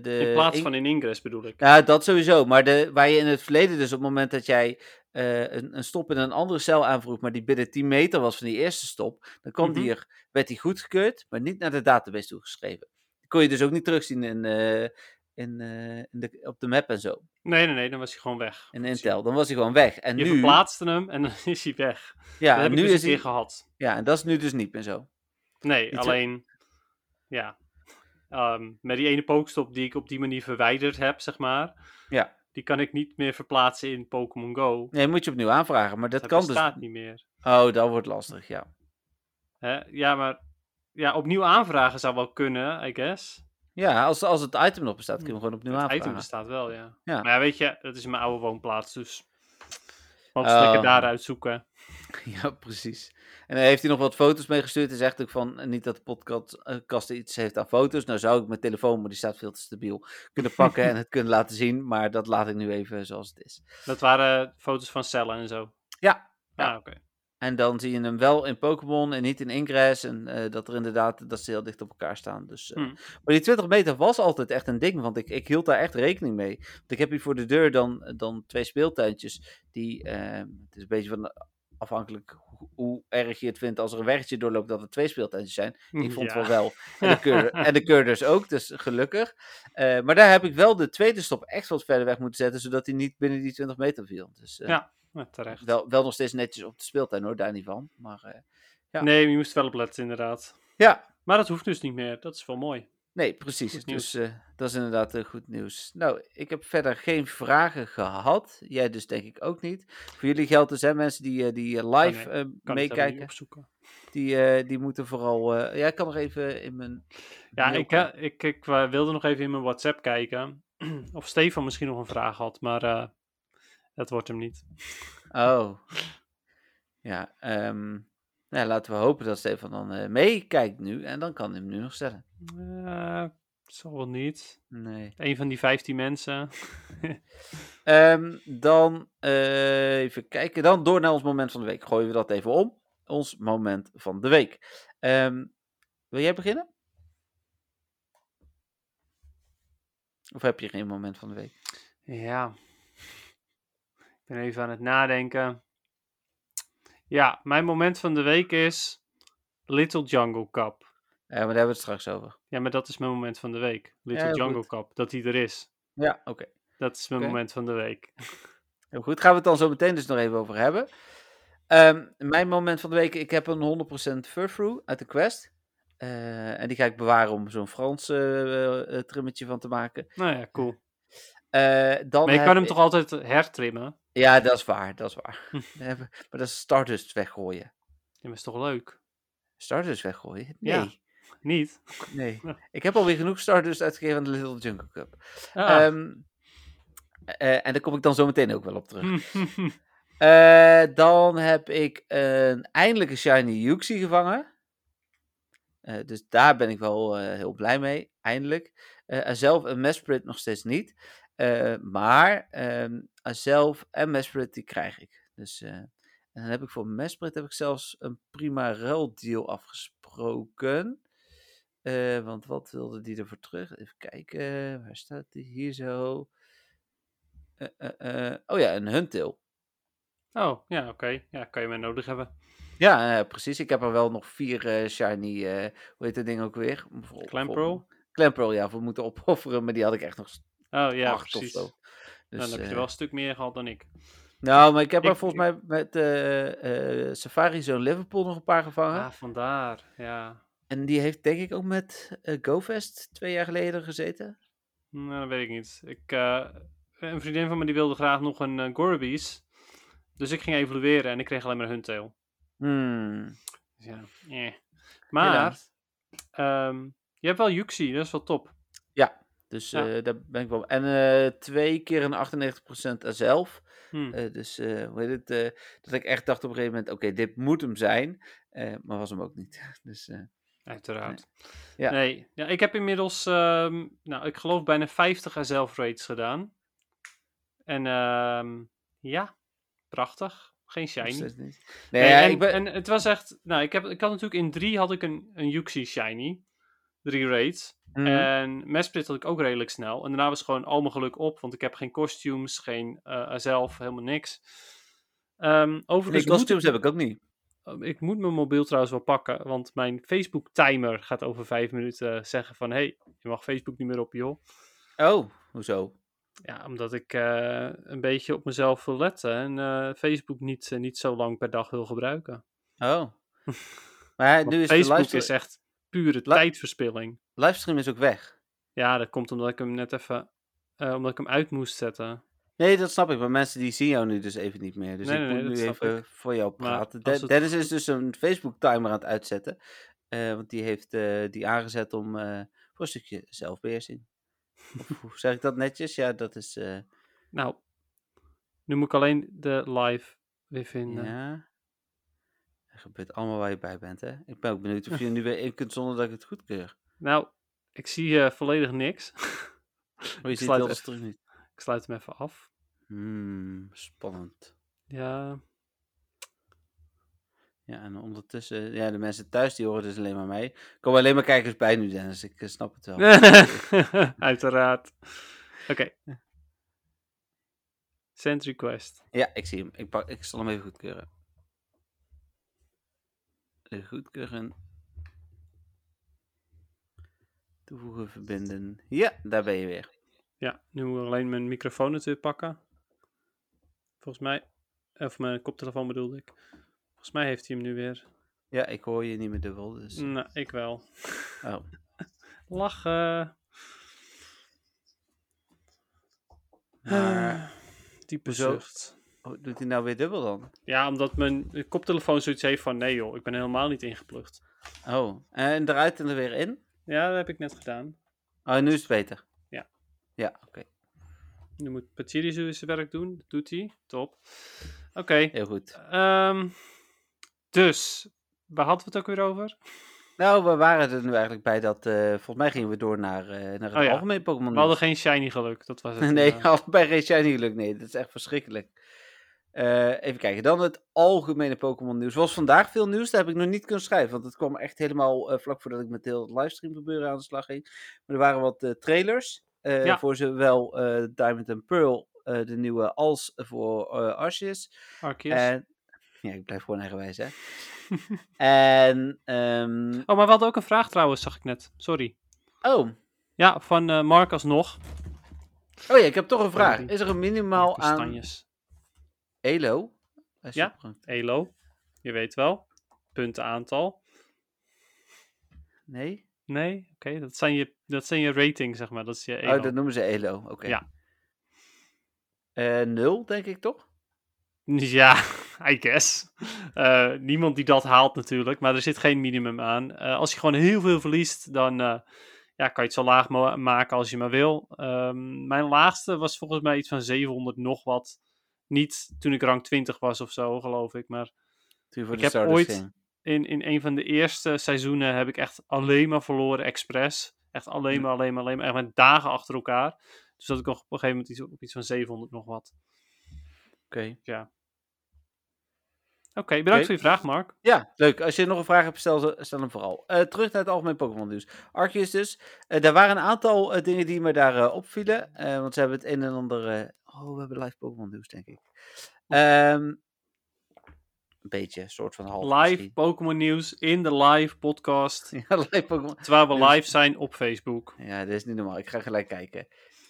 Speaker 3: de.
Speaker 4: In plaats
Speaker 3: in-
Speaker 4: van in Ingress bedoel ik.
Speaker 3: Ja, dat sowieso. Maar de, waar je in het verleden dus op het moment dat jij eh, een, een stop in een andere cel aanvroeg, maar die binnen 10 meter was van die eerste stop, dan kwam die
Speaker 4: Mhm.
Speaker 3: er, werd die goedgekeurd, maar niet naar de database toegeschreven. Die kon je dus ook niet terugzien in, eh, in, eh, in de, op de map en zo.
Speaker 4: Nee, nee, nee, dan was hij gewoon weg. Dus
Speaker 3: In Intel. Dan was hij gewoon weg. En
Speaker 4: Je
Speaker 3: nu,
Speaker 4: verplaatste hem en dan is hij weg.
Speaker 3: ja,
Speaker 4: dat
Speaker 3: en
Speaker 4: heb
Speaker 3: nu
Speaker 4: ik dus
Speaker 3: is
Speaker 4: een keer
Speaker 3: hij,
Speaker 4: gehad.
Speaker 3: ja, en dat is nu dus niet meer zo.
Speaker 4: Nee,
Speaker 3: Niet zo-
Speaker 4: alleen. Ja. Ehm, met die ene pokestop die ik op die manier verwijderd heb, zeg maar.
Speaker 3: Ja.
Speaker 4: Die kan ik niet meer verplaatsen in Pokémon Go.
Speaker 3: Nee, moet je opnieuw aanvragen, maar dat
Speaker 4: Hij
Speaker 3: kan dus.
Speaker 4: bestaat niet meer.
Speaker 3: Oh, dat wordt lastig, ja.
Speaker 4: Hè? Ja, maar. Ja, opnieuw aanvragen zou wel kunnen, I guess.
Speaker 3: Ja, als, als het item nog bestaat, kun je hem gewoon opnieuw
Speaker 4: Mm, Het item
Speaker 3: aanvragen.
Speaker 4: bestaat wel, ja.
Speaker 3: Ja.
Speaker 4: Maar ja, weet je, dat is mijn oude woonplaats, dus. Wat
Speaker 3: Oh.
Speaker 4: lekker daaruit zoeken.
Speaker 3: Ja, precies. En hij heeft hij nog wat foto's meegestuurd. Hij zegt ook van, eh, niet dat de podcast eh, kast iets heeft aan foto's. Nou zou ik mijn telefoon, maar die staat veel te stabiel, kunnen pakken en het kunnen laten zien. Maar dat laat ik nu even zoals het is.
Speaker 4: Dat waren foto's van cellen en zo.
Speaker 3: Ja,
Speaker 4: Ah,
Speaker 3: ja.
Speaker 4: oké.
Speaker 3: En dan zie je hem wel in Pokémon en niet in Ingress. En eh, dat er inderdaad, dat ze heel dicht op elkaar staan. Dus, eh,
Speaker 4: Hmm.
Speaker 3: Maar die 20 meter was altijd echt een ding, want ik, ik hield daar echt rekening mee. Want ik heb hier voor de deur dan, dan twee speeltuintjes. Die, eh, het is een beetje van eh, afhankelijk hoe, hoe erg je het vindt als er een weggetje doorloopt dat er twee speeltuintjes zijn. Ik vond
Speaker 4: Mhm,
Speaker 3: wel
Speaker 4: Ja.
Speaker 3: wel. En de, keur, en de keurders ook, dus gelukkig. Eh, maar daar heb ik wel de tweede stop echt wat verder weg moeten zetten, zodat hij niet binnen die 20 meter viel. Dus eh,
Speaker 4: Ja, Ja, nou, terecht.
Speaker 3: wel, wel nog steeds netjes op de speeltuin hoor, daar niet van. Maar eh, Ja.
Speaker 4: Nee, je moest wel op letten, inderdaad.
Speaker 3: ja,
Speaker 4: Maar dat hoeft dus niet meer. Dat is wel mooi.
Speaker 3: Nee, precies.
Speaker 4: Goed
Speaker 3: dus eh, dat is inderdaad eh, goed nieuws. Nou, ik heb verder geen vragen gehad. Jij dus denk ik ook niet. Voor jullie geldt er zijn mensen die, eh, die eh, live eh,
Speaker 4: nee, Kan ik daar niet
Speaker 3: meekijken.
Speaker 4: opzoeken.
Speaker 3: Die, eh, die moeten vooral... eh, ja, ik kan nog even in mijn...
Speaker 4: Ja,
Speaker 3: mail
Speaker 4: ik,
Speaker 3: kijken.
Speaker 4: eh, ik, ik eh, wilde nog even in mijn WhatsApp kijken. of Stefan misschien nog een vraag had, maar eh, dat wordt hem niet.
Speaker 3: Oh. Ja, ehm, nou, laten we hopen dat Stefan dan eh, meekijkt nu. En dan kan hij hem nu nog stellen.
Speaker 4: Eh, zal wel niet.
Speaker 3: Nee.
Speaker 4: Een van die 15 mensen.
Speaker 3: Ehm, dan eh, even kijken. Dan door naar ons moment van de week. Gooien we dat even om. Ons moment van de week. Ehm, wil jij beginnen? Of heb je geen moment van de week?
Speaker 4: Ja. Ik ben even aan het nadenken. Ja, mijn moment van de week is Little Jungle Cup.
Speaker 3: Eh, maar daar hebben we het straks over.
Speaker 4: Ja, maar dat is mijn moment van de week. Little
Speaker 3: heel
Speaker 4: Jungle
Speaker 3: goed.
Speaker 4: Cup, dat hij er is.
Speaker 3: Ja, oké.
Speaker 4: Dat is mijn
Speaker 3: Oké.
Speaker 4: moment van de week.
Speaker 3: Heel goed. Gaan we het dan zo meteen dus nog even over hebben. Ehm, mijn moment van de week. Ik heb een 100% furfru uit de Quest. Eh, en die ga ik bewaren om zo'n Frans eh, eh, trimmetje van te maken.
Speaker 4: Nou ja, cool.
Speaker 3: Eh, dan
Speaker 4: Maar je
Speaker 3: heb
Speaker 4: kan hem
Speaker 3: ik-
Speaker 4: toch altijd hertrimmen?
Speaker 3: Ja, dat is waar, dat is waar.
Speaker 4: Hm.
Speaker 3: We hebben- maar dat is Stardust weggooien.
Speaker 4: Ja, maar is toch leuk?
Speaker 3: Stardust weggooien? Nee,
Speaker 4: Ja. Niet?
Speaker 3: nee. Ik heb alweer genoeg Stardust uitgegeven aan de Little Jungle Cup.
Speaker 4: Ah.
Speaker 3: Ehm, eh, en daar kom ik dan zo meteen ook wel op terug. Eh, dan heb ik een eindelijke Shiny Yuxi gevangen. Eh, dus daar ben ik wel eh, heel blij mee, eindelijk. Eh, en zelf en Mesprit nog steeds niet. Eh, maar ehm zelf en Mesprit die krijg ik. Dus, eh, en dan heb ik voor Mesprit heb ik zelfs een prima ruildeal afgesproken. Eh, want wat wilde die ervoor terug? Even kijken, waar staat die? Hier zo. Eh, eh, eh, Oh ja, een Huntail.
Speaker 4: Oh, ja, oké. Ja, kan je mij nodig hebben.
Speaker 3: Ja, eh, precies. Ik heb er wel nog vier eh, shiny, eh, hoe heet dat ding ook weer? Voor-
Speaker 4: Clamperl?
Speaker 3: voor- Clamperl, ja, voor moeten opofferen, maar die had ik echt nog s-
Speaker 4: Oh, ja,
Speaker 3: acht
Speaker 4: precies.
Speaker 3: of zo. Dus,
Speaker 4: Dan heb je
Speaker 3: eh,
Speaker 4: wel een stuk meer gehad dan ik.
Speaker 3: Nou, maar ik heb er
Speaker 4: Ik-
Speaker 3: volgens mij met eh, eh, Safari Zone Liverpool nog een paar gevangen.
Speaker 4: Ah, vandaar. Ja.
Speaker 3: En die heeft denk ik ook met eh, GoFest twee jaar geleden gezeten.
Speaker 4: Nou, dat weet ik niet. Ik, eh, een vriendin van me die wilde graag nog een eh, Gorabees. Dus ik ging evalueren en ik kreeg alleen maar hun tail.
Speaker 3: Hmm,
Speaker 4: Dus ja, eh. Maar,
Speaker 3: helaas.
Speaker 4: ehm, je hebt wel Yuxi, dat is wel top.
Speaker 3: Dus
Speaker 4: ja.
Speaker 3: eh, daar ben ik wel... En eh, twee keer een 98% zelf.
Speaker 4: Hm.
Speaker 3: Eh, dus eh, hoe heet het? eh, dat ik echt dacht op een gegeven moment: oké, dit moet hem zijn. eh, maar was hem ook niet. Dus eh,
Speaker 4: Uiteraard.
Speaker 3: Ja.
Speaker 4: Nee, ja, ik heb inmiddels, ehm, nou, ik geloof bijna 50 zelf raids gedaan. En ehm, ja, prachtig. Geen
Speaker 3: nog
Speaker 4: shiny.
Speaker 3: steeds niet. Nee,
Speaker 4: Nee,
Speaker 3: ja,
Speaker 4: en,
Speaker 3: ik ben,
Speaker 4: en het was echt, nou, ik, heb, ik had natuurlijk in drie had ik een, een Yuxi shiny. Drie raids.
Speaker 3: Mhm.
Speaker 4: En Mesprit had ik ook redelijk snel. En daarna was gewoon al mijn geluk op, want ik heb geen costumes, geen eh zelf, helemaal niks. Ehm overigens
Speaker 3: Die
Speaker 4: moet
Speaker 3: kostuums heb ik ook niet.
Speaker 4: Um, Ik moet mijn mobiel trouwens wel pakken, want mijn Facebook-timer gaat over vijf minuten zeggen van... ...hé, hey, je mag Facebook niet meer op, joh.
Speaker 3: Oh, hoezo?
Speaker 4: Ja, omdat ik eh, een beetje op mezelf wil letten en eh, Facebook niet, eh, niet zo lang per dag wil gebruiken.
Speaker 3: Oh. Maar
Speaker 4: Want
Speaker 3: nu is de
Speaker 4: Facebook
Speaker 3: livestream,
Speaker 4: is echt pure
Speaker 3: La-
Speaker 4: tijdverspilling.
Speaker 3: livestream is ook weg.
Speaker 4: Ja, dat komt omdat ik hem net even... eh, omdat ik hem uit moest zetten.
Speaker 3: Nee, dat snap ik. Maar mensen die zien jou nu dus even niet meer. Dus
Speaker 4: Nee,
Speaker 3: ik
Speaker 4: nee,
Speaker 3: moet nu
Speaker 4: nee, dat snap
Speaker 3: even
Speaker 4: ik.
Speaker 3: voor jou
Speaker 4: Maar
Speaker 3: praten.
Speaker 4: als
Speaker 3: De-
Speaker 4: het
Speaker 3: Dennis is dus een Facebook-timer aan het uitzetten. eh, want die heeft eh, die aangezet om eh, voor een stukje zelfbeheersing. Of hoe zeg ik dat netjes? Ja, dat is... eh,
Speaker 4: Nou, nu moet ik alleen de live weer vinden.
Speaker 3: Ja. Er gebeurt allemaal waar je bij bent, hè? Ik ben ook benieuwd of je er nu weer in kunt zonder dat ik het goedkeur.
Speaker 4: Nou, ik zie eh, volledig niks.
Speaker 3: Maar je
Speaker 4: Ik
Speaker 3: ziet
Speaker 4: sluit
Speaker 3: heel de
Speaker 4: even.
Speaker 3: stream niet.
Speaker 4: ik sluit hem even af.
Speaker 3: Hmm, spannend.
Speaker 4: Ja,
Speaker 3: Ja, en ondertussen... eh, Ja, de mensen thuis die horen dus alleen maar mij. Er komen alleen maar kijkers bij nu, Dennis. Ik eh, snap het wel.
Speaker 4: Uiteraard. Oké. Send request.
Speaker 3: Ja, ik zie hem. Ik, pak, ik zal hem even goedkeuren. Eh, Goedkeuren. Toevoegen, verbinden. Ja, daar ben je weer.
Speaker 4: Ja, nu moet ik alleen mijn microfoon natuurlijk pakken. Volgens mij, of mijn koptelefoon bedoelde ik. Volgens mij heeft hij hem nu weer.
Speaker 3: Ja, ik hoor je niet meer dubbel, dus...
Speaker 4: Nou, ik wel.
Speaker 3: Oh.
Speaker 4: Lachen.
Speaker 3: Maar...
Speaker 4: Ah, Diepe
Speaker 3: hoezo?
Speaker 4: zucht.
Speaker 3: Oh, doet hij nou weer dubbel dan?
Speaker 4: Ja, omdat mijn koptelefoon zoiets heeft van nee joh, ik ben helemaal niet ingeplucht.
Speaker 3: Oh, en eruit en er weer in?
Speaker 4: Ja, dat heb ik net gedaan.
Speaker 3: Oh, nu is het beter.
Speaker 4: Ja.
Speaker 3: Ja, oké.
Speaker 4: Nu moet Patiri zijn werk doen. Dat doet hij. Top. Oké.
Speaker 3: Heel goed.
Speaker 4: Ehm, dus, waar hadden we het ook weer over?
Speaker 3: Nou, we waren er nu eigenlijk bij dat... eh, volgens mij gingen we door naar, eh, naar het
Speaker 4: Oh ja.
Speaker 3: algemeen Pokémon.
Speaker 4: We hadden geen shiny geluk, dat was het.
Speaker 3: Hmm.
Speaker 4: eh,
Speaker 3: Nee,
Speaker 4: inderdaad.
Speaker 3: allebei geen shiny geluk. Nee, dat is echt verschrikkelijk. Eh, even kijken. Dan het algemene Pokémon nieuws. Was vandaag veel nieuws, daar heb ik nog niet kunnen schrijven. Want het kwam echt helemaal eh, vlak voordat ik met heel het livestream gebeuren aan de slag ging. Maar er waren wat eh, trailers. eh,
Speaker 4: Ja.
Speaker 3: Voor zowel eh, Diamond and Pearl, eh, de nieuwe, als voor eh Arceus.
Speaker 4: Arceus.
Speaker 3: En, ja, ik blijf gewoon eigenwijs, hè. en, ehm,
Speaker 4: Oh, maar we hadden ook een vraag trouwens, zag ik net. Sorry.
Speaker 3: oh,
Speaker 4: Ja, van eh Mark alsnog.
Speaker 3: oh ja, ik heb toch een vraag.
Speaker 4: die-
Speaker 3: Is er een minimaal aan
Speaker 4: Kastanjes.
Speaker 3: Elo? Als je
Speaker 4: Ja.
Speaker 3: opgehangen-
Speaker 4: Elo, je weet wel. Puntenaantal.
Speaker 3: Nee?
Speaker 4: Nee, oké, dat, zijn je, dat zijn je rating, zeg maar. Dat is je Elo.
Speaker 3: Oh, dat noemen ze Elo, oké.
Speaker 4: Ja.
Speaker 3: Eh, nul, denk ik toch?
Speaker 4: Ja, I guess. Eh, niemand die dat haalt natuurlijk, maar er zit geen minimum aan. Eh, als je gewoon heel veel verliest, dan eh, ja, kan je het zo laag ma- maken als je maar wil. Ehm, mijn laagste was volgens mij iets van 700 nog wat. Niet toen ik rank 20 was of zo, geloof ik. Maar
Speaker 3: Toen voor
Speaker 4: Ik
Speaker 3: de
Speaker 4: heb
Speaker 3: starters
Speaker 4: ooit-
Speaker 3: ging.
Speaker 4: in, in een van de eerste seizoenen heb ik echt alleen maar verloren expres. Echt alleen
Speaker 3: Ja.
Speaker 4: maar, alleen maar, alleen maar. Echt met dagen achter elkaar. Dus dat ik nog op een gegeven moment iets, op iets van 700 nog wat.
Speaker 3: Oké.
Speaker 4: Oké, bedankt
Speaker 3: Oké.
Speaker 4: voor je vraag, Mark.
Speaker 3: Ja, leuk. Als je nog een vraag hebt, stel, ze- stel hem vooral. Eh, terug naar het algemeen Pokémon nieuws. Arceus dus. Eh, daar waren een aantal eh, dingen die me daar eh, opvielen. eh, want ze hebben het een en ander... eh, Oh, we hebben live Pokémon nieuws, denk ik. Ehm, een beetje, soort van half
Speaker 4: Live
Speaker 3: misschien.
Speaker 4: Pokémon nieuws in de live podcast.
Speaker 3: Ja, live Pokémon.
Speaker 4: Terwijl we
Speaker 3: Dus-
Speaker 4: live zijn op Facebook.
Speaker 3: Ja, dit is niet normaal. Ik ga gelijk kijken.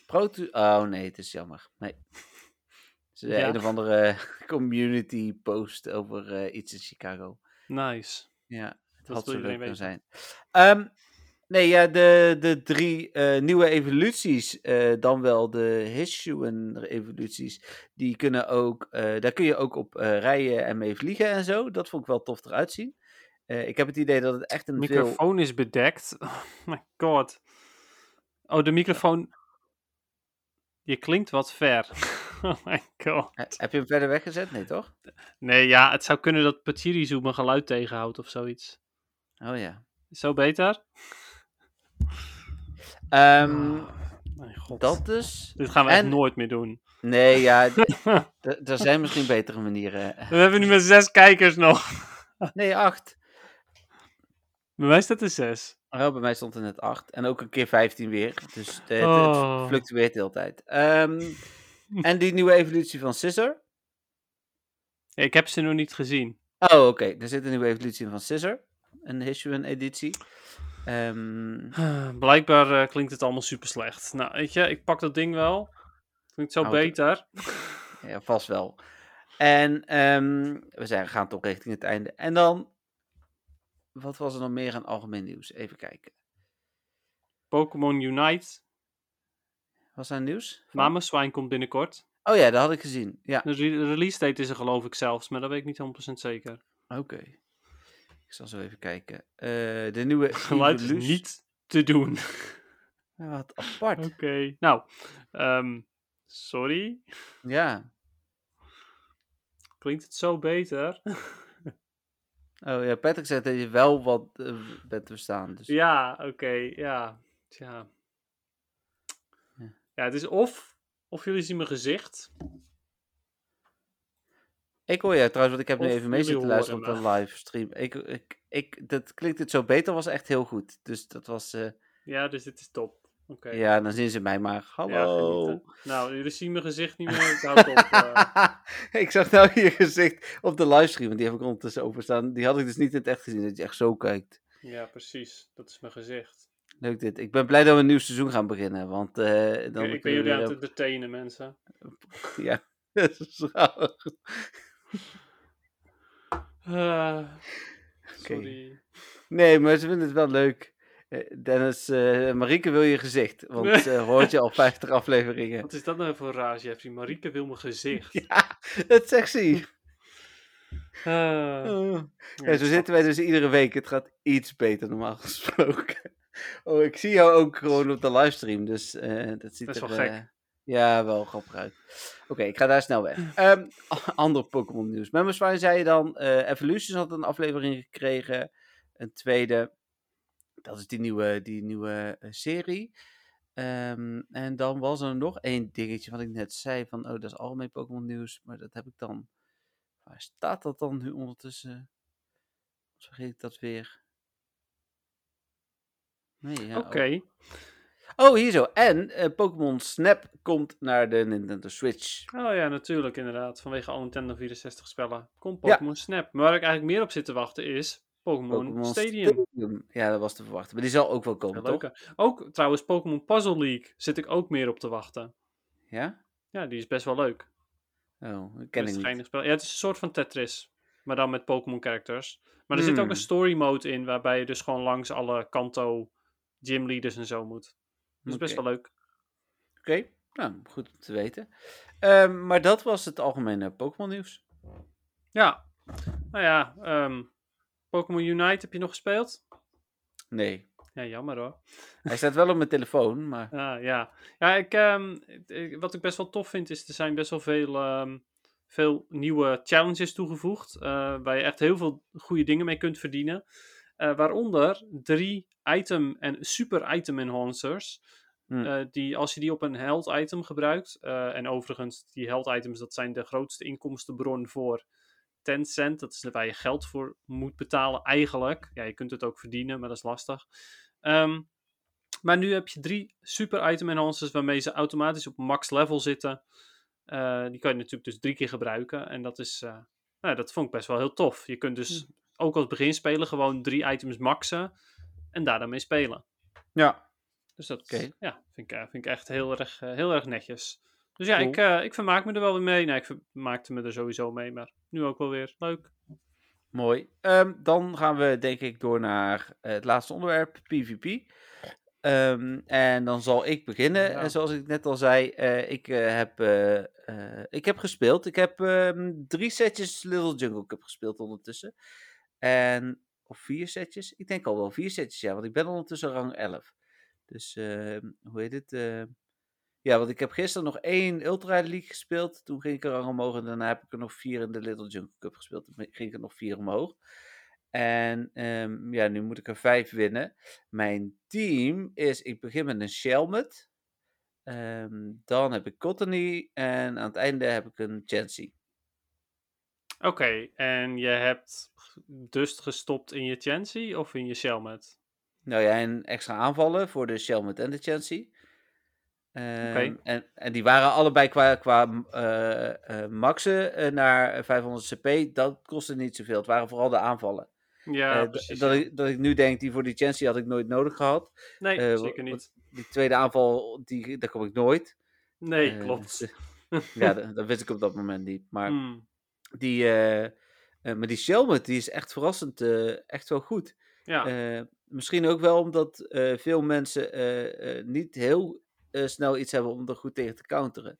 Speaker 3: Proto... Oh nee, het is jammer. Nee. Het is eh,
Speaker 4: Ja.
Speaker 3: een of andere community post over eh, iets in Chicago.
Speaker 4: Nice.
Speaker 3: Ja, het
Speaker 4: Dat
Speaker 3: had
Speaker 4: wil
Speaker 3: zo leuk
Speaker 4: iedereen
Speaker 3: kunnen
Speaker 4: weten.
Speaker 3: zijn. Ehm, nee, ja, de, de drie eh, nieuwe evoluties, eh, dan wel de Hisuian evoluties, die kunnen ook, eh, daar kun je ook op eh, rijden en mee vliegen en zo. Dat vond ik wel tof eruit zien. Eh, ik heb het idee dat het echt een veel...
Speaker 4: microfoon is bedekt. Oh my god. Oh, de microfoon. Je klinkt wat ver. oh my god.
Speaker 3: Eh, Heb je hem verder weggezet? Nee, toch?
Speaker 4: Nee, ja, het zou kunnen dat Patiri Zoom mijn geluid tegenhoudt of zoiets.
Speaker 3: Oh ja.
Speaker 4: Zo beter?
Speaker 3: Ehm,
Speaker 4: Oh Mijn god.
Speaker 3: dat dus.
Speaker 4: Dit gaan we echt
Speaker 3: en-
Speaker 4: nooit meer doen.
Speaker 3: Nee, ja, d- d- er zijn misschien betere manieren.
Speaker 4: We hebben nu maar zes kijkers nog.
Speaker 3: Nee, acht.
Speaker 4: Bij mij staat er zes.
Speaker 3: Oh, bij mij stond er net acht. En ook een keer 15 weer. Dus het, het- het
Speaker 4: Oh.
Speaker 3: fluctueert de hele tijd. Ehm, en die nieuwe evolutie van Scissor.
Speaker 4: Ik heb ze nog niet gezien.
Speaker 3: Oh, oké. Er zit een nieuwe evolutie in van Scissor. Een Hisuian editie. Ehm,
Speaker 4: Blijkbaar eh, klinkt het allemaal super slecht. Nou, weet je, ik pak dat ding wel. Klinkt zo
Speaker 3: Nou, het-
Speaker 4: beter.
Speaker 3: ja, vast wel. En ehm, we zijn, gaan toch richting het einde. En dan... Wat was er nog meer aan algemeen nieuws? Even kijken.
Speaker 4: Pokémon Unite.
Speaker 3: Was er nieuws? van?
Speaker 4: Mamoswijn komt binnenkort.
Speaker 3: Oh ja, dat had ik gezien. Ja,
Speaker 4: De re- release date is er geloof ik zelfs, maar dat weet ik niet 100% zeker.
Speaker 3: oké. Ik zal zo even kijken. Eh, de nieuwe
Speaker 4: Geluid is
Speaker 3: Evolution-
Speaker 4: niet te doen.
Speaker 3: Ja, Wat apart.
Speaker 4: Oké. Nou, ehm, sorry.
Speaker 3: Ja.
Speaker 4: Klinkt het zo beter?
Speaker 3: Oh ja, Patrick zegt dat je wel wat eh, bent te verstaan. Dus.
Speaker 4: ja, oké. ja. Tja.
Speaker 3: Ja.
Speaker 4: Ja, het is of, of jullie zien mijn gezicht.
Speaker 3: Ik hoor jou trouwens, want ik heb
Speaker 4: Of
Speaker 3: nu even mee
Speaker 4: jullie
Speaker 3: zitten luisteren op
Speaker 4: horen
Speaker 3: de livestream. Ik, ik, ik, dat klinkt het zo beter, was echt heel goed. Dus dat was, eh,
Speaker 4: Ja, dus dit is top. Oké.
Speaker 3: ja, dan zien ze mij maar.
Speaker 4: Ja,
Speaker 3: Hallo.
Speaker 4: genieten. nou, jullie zien mijn gezicht niet meer. Ik hou het op. eh.
Speaker 3: ik zag nou je gezicht op de livestream, want die heb ik ondertussen openstaan. Die had ik dus niet in het echt gezien, dat je echt zo kijkt.
Speaker 4: ja, precies. Dat is mijn gezicht.
Speaker 3: Leuk dit. Ik ben blij dat we een nieuw seizoen gaan beginnen, want eh, dan
Speaker 4: ik ben
Speaker 3: kunnen we
Speaker 4: jullie aan het
Speaker 3: weer-
Speaker 4: entertainen, mensen.
Speaker 3: Ja, dat is raar.
Speaker 4: Eh, sorry.
Speaker 3: Nee, maar ze vinden het wel leuk. Eh, Dennis, eh Marieke wil je gezicht, want ze hoort je al 50 afleveringen.
Speaker 4: Wat is dat nou voor raar, Jeffrey? Marieke wil mijn gezicht.
Speaker 3: Ja, dat zegt ze hier.
Speaker 4: Eh,
Speaker 3: Oh.
Speaker 4: ja,
Speaker 3: Ja, zo zitten wij dus iedere week. Het gaat iets beter normaal gesproken. Oh, ik zie jou ook gewoon op de livestream, dus eh, dat ziet
Speaker 4: Dat is
Speaker 3: er...
Speaker 4: wel gek.
Speaker 3: eh, ja, wel grappig uit. Oké, ik ga daar snel weg. Ehm ander Pokémon nieuws. Memmerswijn zei je dan, eh Evolutions had een aflevering gekregen. Een tweede. Dat is die nieuwe, die nieuwe eh, serie. Ehm, en dan was er nog één dingetje wat ik net zei. Van, oh, dat is algemeen Pokémon nieuws. Maar dat heb ik dan... Waar staat dat dan nu ondertussen? Of vergeet ik dat weer? Nee, ja.
Speaker 4: Oké.
Speaker 3: oh. Oh, hier zo. En eh, Pokémon Snap komt naar de Nintendo Switch.
Speaker 4: Oh ja, natuurlijk, inderdaad. Vanwege al Nintendo 64 spellen. Komt
Speaker 3: Ja.
Speaker 4: Pokémon Snap. Maar waar ik eigenlijk meer op zit te wachten is Pokémon
Speaker 3: Pokémon
Speaker 4: Stadium.
Speaker 3: Ja, dat was te verwachten. Maar die zal ook wel komen,
Speaker 4: Ja,
Speaker 3: toch?
Speaker 4: leuk, hè? Ook trouwens, Pokémon Puzzle League zit ik ook meer op te wachten.
Speaker 3: Ja?
Speaker 4: Ja, die is best wel leuk.
Speaker 3: Oh, dat
Speaker 4: Dat
Speaker 3: ken ik
Speaker 4: is een
Speaker 3: niet.
Speaker 4: geinig spel. Ja, het is een soort van Tetris, maar dan met Pokémon characters. Maar er zit ook
Speaker 3: Hmm.
Speaker 4: een story mode in, waarbij je dus gewoon langs alle Kanto gymleaders en zo moet. Dat is best
Speaker 3: Oké.
Speaker 4: wel leuk.
Speaker 3: Oké, nou, goed om te weten. Ehm, maar dat was het algemene Pokémon nieuws.
Speaker 4: Ja. Nou ja, ehm, Pokémon Unite heb je nog gespeeld?
Speaker 3: Nee.
Speaker 4: Ja, jammer hoor.
Speaker 3: Hij staat wel op mijn telefoon, maar...
Speaker 4: Ah, ja, ja ik, ehm, ik- ik- wat ik best wel tof vind is, er zijn best wel veel, ehm, veel nieuwe challenges toegevoegd. eh, waar je echt heel veel goede dingen mee kunt verdienen. Eh, waaronder drie item en super item enhancers.
Speaker 3: Hmm.
Speaker 4: eh, die, als je die op een held item gebruikt. eh, en overigens, die held items, dat zijn de grootste inkomstenbron voor Tencent. Dat is waar je geld voor moet betalen eigenlijk. Ja, je kunt het ook verdienen, maar dat is lastig. Ehm, maar nu heb je drie super item enhancers waarmee ze automatisch op max level zitten. Eh, die kan je natuurlijk dus drie keer gebruiken. En dat is, eh, nou, dat vond ik best wel heel tof. Je kunt dus
Speaker 3: Hm.
Speaker 4: ook als beginspeler gewoon drie items maxen en daar dan mee spelen.
Speaker 3: Ja.
Speaker 4: Dus dat
Speaker 3: Oké.
Speaker 4: ja, vind, ik, eh, vind ik echt heel erg, eh, heel erg netjes. Dus ja,
Speaker 3: Cool.
Speaker 4: ik, eh, ik vermaak me er wel weer mee. Nee, ik vermaakte me er sowieso mee, maar nu ook wel weer. Leuk.
Speaker 3: Mooi. Ehm, dan gaan we denk ik door naar eh, het laatste onderwerp, PvP. Ehm, en dan zal ik beginnen.
Speaker 4: Ja.
Speaker 3: En zoals ik net al zei, eh, ik, eh, heb, eh, eh, ik heb gespeeld. Ik heb ehm, drie setjes Little Jungle Cup gespeeld ondertussen. En, of vier setjes? Ik denk al wel vier setjes, ja. Want ik ben ondertussen rang 11. Dus, ehm, hoe heet het? eh, ja, want ik heb gisteren nog één Ultra League gespeeld. Toen ging ik er al omhoog. En daarna heb ik er nog vier in de Little Jungle Cup gespeeld. Toen ging ik er nog vier omhoog. En ehm, ja, nu moet ik er vijf winnen. Mijn team is, ik begin met een Shelmet. Ehm, dan heb ik Cottony. En aan het einde heb ik een Chansey.
Speaker 4: Oké, en je hebt dus gestopt in je Chansey of in je Shelmet?
Speaker 3: Nou ja, en extra aanvallen voor de Shelmet en de Chansey. Ehm,
Speaker 4: Oké.
Speaker 3: en, en die waren allebei qua, qua eh, eh, maxen eh, naar 500 CP. Dat kostte niet zoveel. Het waren vooral de aanvallen.
Speaker 4: Ja,
Speaker 3: Eh, d-
Speaker 4: precies.
Speaker 3: dat,
Speaker 4: ja.
Speaker 3: ik, dat ik nu denk, die voor die Chancy had ik nooit nodig gehad.
Speaker 4: Nee,
Speaker 3: eh, wa-
Speaker 4: zeker niet.
Speaker 3: Die tweede aanval, die, daar kom ik nooit.
Speaker 4: Nee,
Speaker 3: Eh,
Speaker 4: klopt.
Speaker 3: dus, ja, dat, dat wist ik op dat moment niet. Maar,
Speaker 4: Hmm,
Speaker 3: die, eh, eh, maar die Shelmet, die is echt verrassend, eh, echt wel goed.
Speaker 4: Ja,
Speaker 3: Eh, misschien ook wel omdat eh, veel mensen eh, eh, niet heel eh, snel iets hebben om er goed tegen te counteren.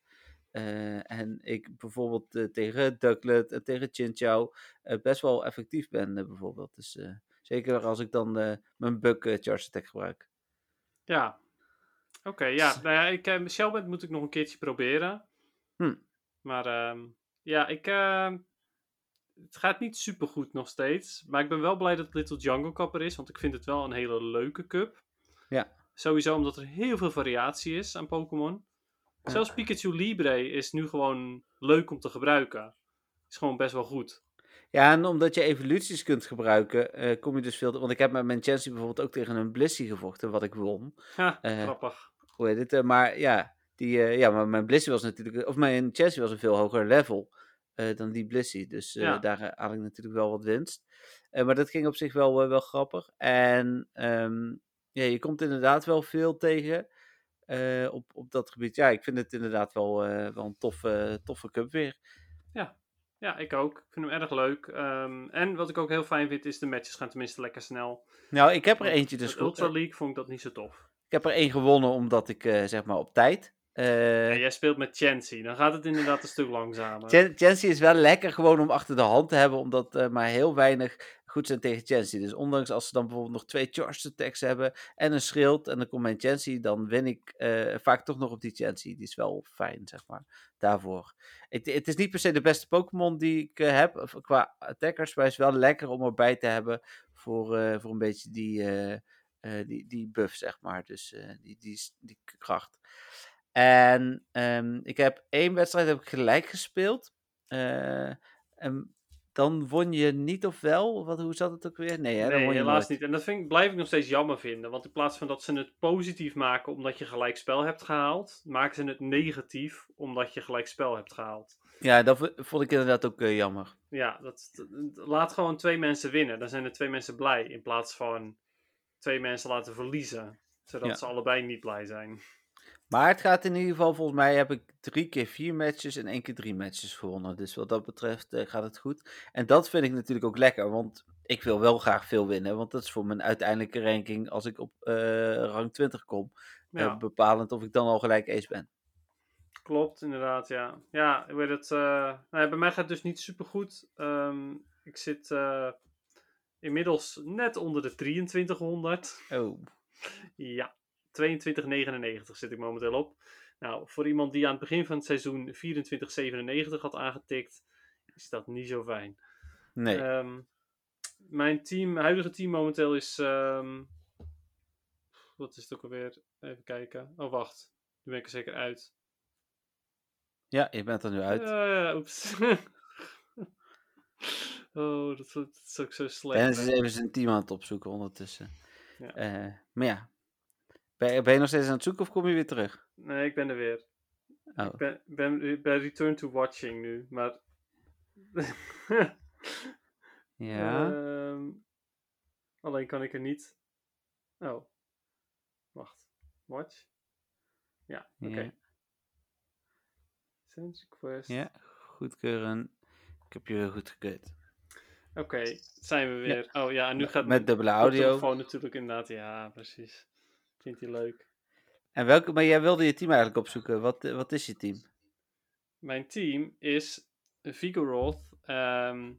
Speaker 3: Eh, en ik bijvoorbeeld eh, tegen Ducklet en tegen Chinchou eh, best wel effectief ben, eh, bijvoorbeeld. Dus eh, zeker als ik dan eh, mijn Buck eh, Charge Attack gebruik.
Speaker 4: ja. Oké, ja. Nou ja, ik, uh, Shellband moet ik nog een keertje proberen.
Speaker 3: Hm.
Speaker 4: Maar ehm, ja, ik... ehm, het gaat niet super goed nog steeds. Maar ik ben wel blij dat Little Jungle Cup er is. Want ik vind het wel een hele leuke cup.
Speaker 3: Ja.
Speaker 4: Sowieso omdat er heel veel variatie is aan Pokémon.
Speaker 3: Ja.
Speaker 4: Zelfs Pikachu Libre is nu gewoon leuk om te gebruiken. Is gewoon best wel goed.
Speaker 3: Ja, en omdat je evoluties kunt gebruiken, eh, kom je dus veel... Want ik heb met mijn Chansey bijvoorbeeld ook tegen een Blissey gevochten, wat ik won.
Speaker 4: Ha,
Speaker 3: Eh,
Speaker 4: grappig.
Speaker 3: hoe heet het? eh, maar ja, die, eh, ja, maar mijn Blissey was natuurlijk, eh, of mijn Chelsea was een veel hoger level eh, dan die Blissey. Dus eh,
Speaker 4: Ja.
Speaker 3: daar eh, had ik natuurlijk wel wat winst. Eh, maar dat ging op zich wel, eh, wel grappig. En ehm, ja, je komt inderdaad wel veel tegen eh, op, op dat gebied. Ja, ik vind het inderdaad wel, eh, wel een toffe, toffe cup weer.
Speaker 4: Ja, ik ook. Ik vind hem erg leuk. Ehm, en wat ik ook heel fijn vind, is de matches gaan tenminste lekker snel.
Speaker 3: Nou, ik heb er eentje dus
Speaker 4: Met Ultra
Speaker 3: gewonnen.
Speaker 4: League vond ik dat niet zo tof.
Speaker 3: Ik heb er één gewonnen omdat ik eh, zeg maar op tijd. eh,
Speaker 4: Ja, jij speelt met Chansey, dan gaat het inderdaad een stuk langzamer.
Speaker 3: Chen- Chansey is wel lekker gewoon om achter de hand te hebben, omdat eh, maar heel weinig goed zijn tegen Chansey. Dus ondanks als ze dan bijvoorbeeld nog twee charge attacks hebben en een schild en dan komt mijn Chansey, dan win ik eh, vaak toch nog op die Chansey. Die is wel fijn, zeg maar, daarvoor. Het, het is niet per se de beste Pokémon die ik eh, heb of qua attackers, maar het is wel lekker om erbij te hebben voor, eh, voor een beetje die, eh, eh, die, die buff, zeg maar. Dus eh, die, die, s- die k- kracht. En ehm, ik heb één wedstrijd heb ik gelijk gespeeld. Eh, en dan won je niet of wel? Wat, hoe zat het ook weer? Nee, hè, dan
Speaker 4: nee,
Speaker 3: won je
Speaker 4: helaas
Speaker 3: nooit.
Speaker 4: niet. En dat vind ik, blijf ik nog steeds jammer vinden. Want in plaats van dat ze het positief maken omdat je gelijk spel hebt gehaald, maken ze het negatief omdat je gelijk spel hebt gehaald.
Speaker 3: Ja, dat v- vond ik inderdaad ook eh, jammer.
Speaker 4: Ja, dat, dat- laat gewoon twee mensen winnen. Dan zijn er twee mensen blij. In plaats van twee mensen laten verliezen. Zodat
Speaker 3: Ja.
Speaker 4: ze allebei niet blij zijn.
Speaker 3: Maar het gaat in ieder geval, volgens mij heb ik drie keer vier matches en één keer drie matches gewonnen. Dus wat dat betreft eh, gaat het goed. En dat vind ik natuurlijk ook lekker, want ik wil wel graag veel winnen. Want dat is voor mijn uiteindelijke ranking, als ik op eh, rang 20 kom, eh,
Speaker 4: Ja.
Speaker 3: bepalend of ik dan al gelijk ace ben.
Speaker 4: Klopt, inderdaad, ja. Ja, ik weet het. eh, nou ja, bij mij gaat het dus niet super goed. ik zit eh, inmiddels net onder de 2300.
Speaker 3: Oh,
Speaker 4: Ja, 22,99 zit ik momenteel op. Nou, voor iemand die aan het begin van het seizoen 24,97 had aangetikt, is dat niet zo fijn.
Speaker 3: nee.
Speaker 4: Ehm, mijn team, mijn huidige team momenteel is. ehm, wat is het ook alweer? Even kijken. Oh, wacht. Nu ben ik er zeker uit.
Speaker 3: ja, je bent er nu uit.
Speaker 4: Eh, oeps. oh, dat, dat is ook zo
Speaker 3: Dennis is
Speaker 4: slecht.
Speaker 3: even zijn team aan het opzoeken ondertussen.
Speaker 4: Ja.
Speaker 3: Eh, maar ja, ben, je- ben je nog steeds aan het zoeken of kom je weer terug?
Speaker 4: Nee, ik ben er weer.
Speaker 3: Oh.
Speaker 4: Ik ben, ben, ben return to watching nu, maar...
Speaker 3: Ja.
Speaker 4: Ehm, alleen kan ik er niet... Oh. Wacht. Watch? Ja,
Speaker 3: Ja.
Speaker 4: oké. Send request.
Speaker 3: Ja, goedkeuren. Ik heb je weer goed gekut.
Speaker 4: Oké, zijn we weer. Oh ja, en nu gaat
Speaker 3: Met
Speaker 4: mijn
Speaker 3: dubbele audio.
Speaker 4: telefoon natuurlijk inderdaad. Ja, precies. Vindt hij leuk.
Speaker 3: En welke, maar jij wilde je team eigenlijk opzoeken. Wat, eh, wat is je team?
Speaker 4: Mijn team is Vigoroth ehm,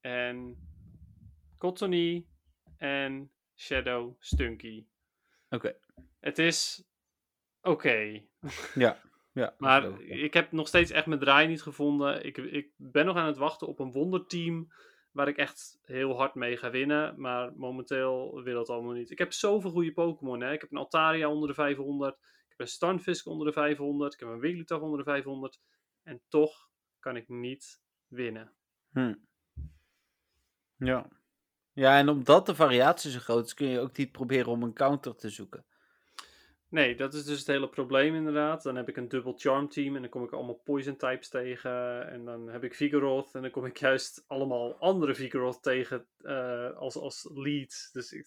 Speaker 4: en Cottony en Shadow Stunky.
Speaker 3: Oké.
Speaker 4: Het is oké,
Speaker 3: Ja. ja
Speaker 4: maar
Speaker 3: dat geloof ik.
Speaker 4: ik heb nog steeds echt mijn draai niet gevonden. Ik, ik ben nog aan het wachten op een wonderteam waar ik echt heel hard mee ga winnen, maar momenteel wil dat allemaal niet. Ik heb zoveel goede Pokémon, hè. Ik heb een Altaria onder de 500, ik heb een Stunfisk onder de 500, ik heb een Wigglytuff onder de 500 en toch kan ik niet winnen.
Speaker 3: Hm. Ja. Ja, en omdat de variatie zo groot is, kun je ook niet proberen om een counter te zoeken.
Speaker 4: Nee, dat is dus het hele probleem inderdaad. Dan heb ik een dubbel charm team en dan kom ik allemaal poison types tegen. En dan heb ik Vigoroth en dan kom ik juist allemaal andere Vigoroth tegen eh, als, als lead. Dus ik,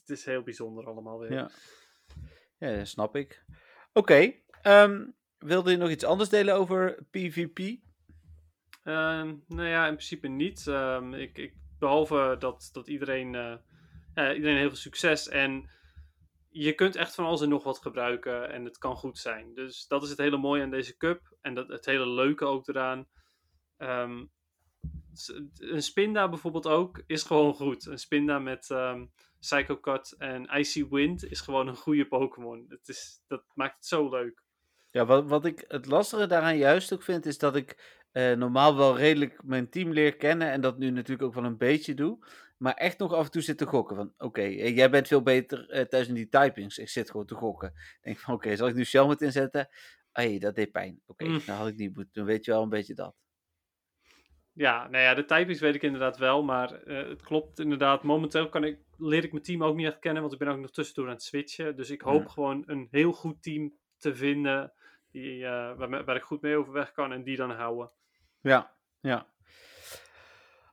Speaker 4: het is heel bijzonder allemaal weer.
Speaker 3: Ja. Ja, dat snap ik. Oké, ehm, wilde je nog iets anders delen over PvP?
Speaker 4: Ehm, nou ja, in principe niet. Ehm, ik, ik, behalve dat, dat iedereen, eh, ja, iedereen heel veel succes en je kunt echt van alles en nog wat gebruiken en het kan goed zijn. Dus dat is het hele mooie aan deze cup en dat, het hele leuke ook eraan. Ehm, s- een Spinda bijvoorbeeld ook is gewoon goed. Een Spinda met ehm Psycho Cut en Icy Wind is gewoon een goede Pokémon. Het is- Dat maakt het zo leuk.
Speaker 3: Ja, wat, wat ik het lastige daaraan juist ook vind, is dat ik eh, normaal wel redelijk mijn team leer kennen en dat nu natuurlijk ook wel een beetje doe. Maar echt nog af en toe zit te gokken van, oké, eh, jij bent veel beter eh, thuis in die typings. Ik zit gewoon te gokken. Ik denk van, oké, zal ik nu Shelmet inzetten? Hey, dat deed pijn. Oké,
Speaker 4: Mm.
Speaker 3: dat had ik niet moeten doen. Weet je wel een beetje dat.
Speaker 4: Ja, nou ja, de typings weet ik inderdaad wel, maar eh, het klopt inderdaad. Momenteel kan ik, leer ik mijn team ook niet echt kennen, want ik ben ook nog tussendoor aan het switchen. Dus ik hoop
Speaker 3: Ja.
Speaker 4: gewoon een heel goed team te vinden die, eh, waar, me- waar ik goed mee overweg kan en die dan houden.
Speaker 3: Ja, ja.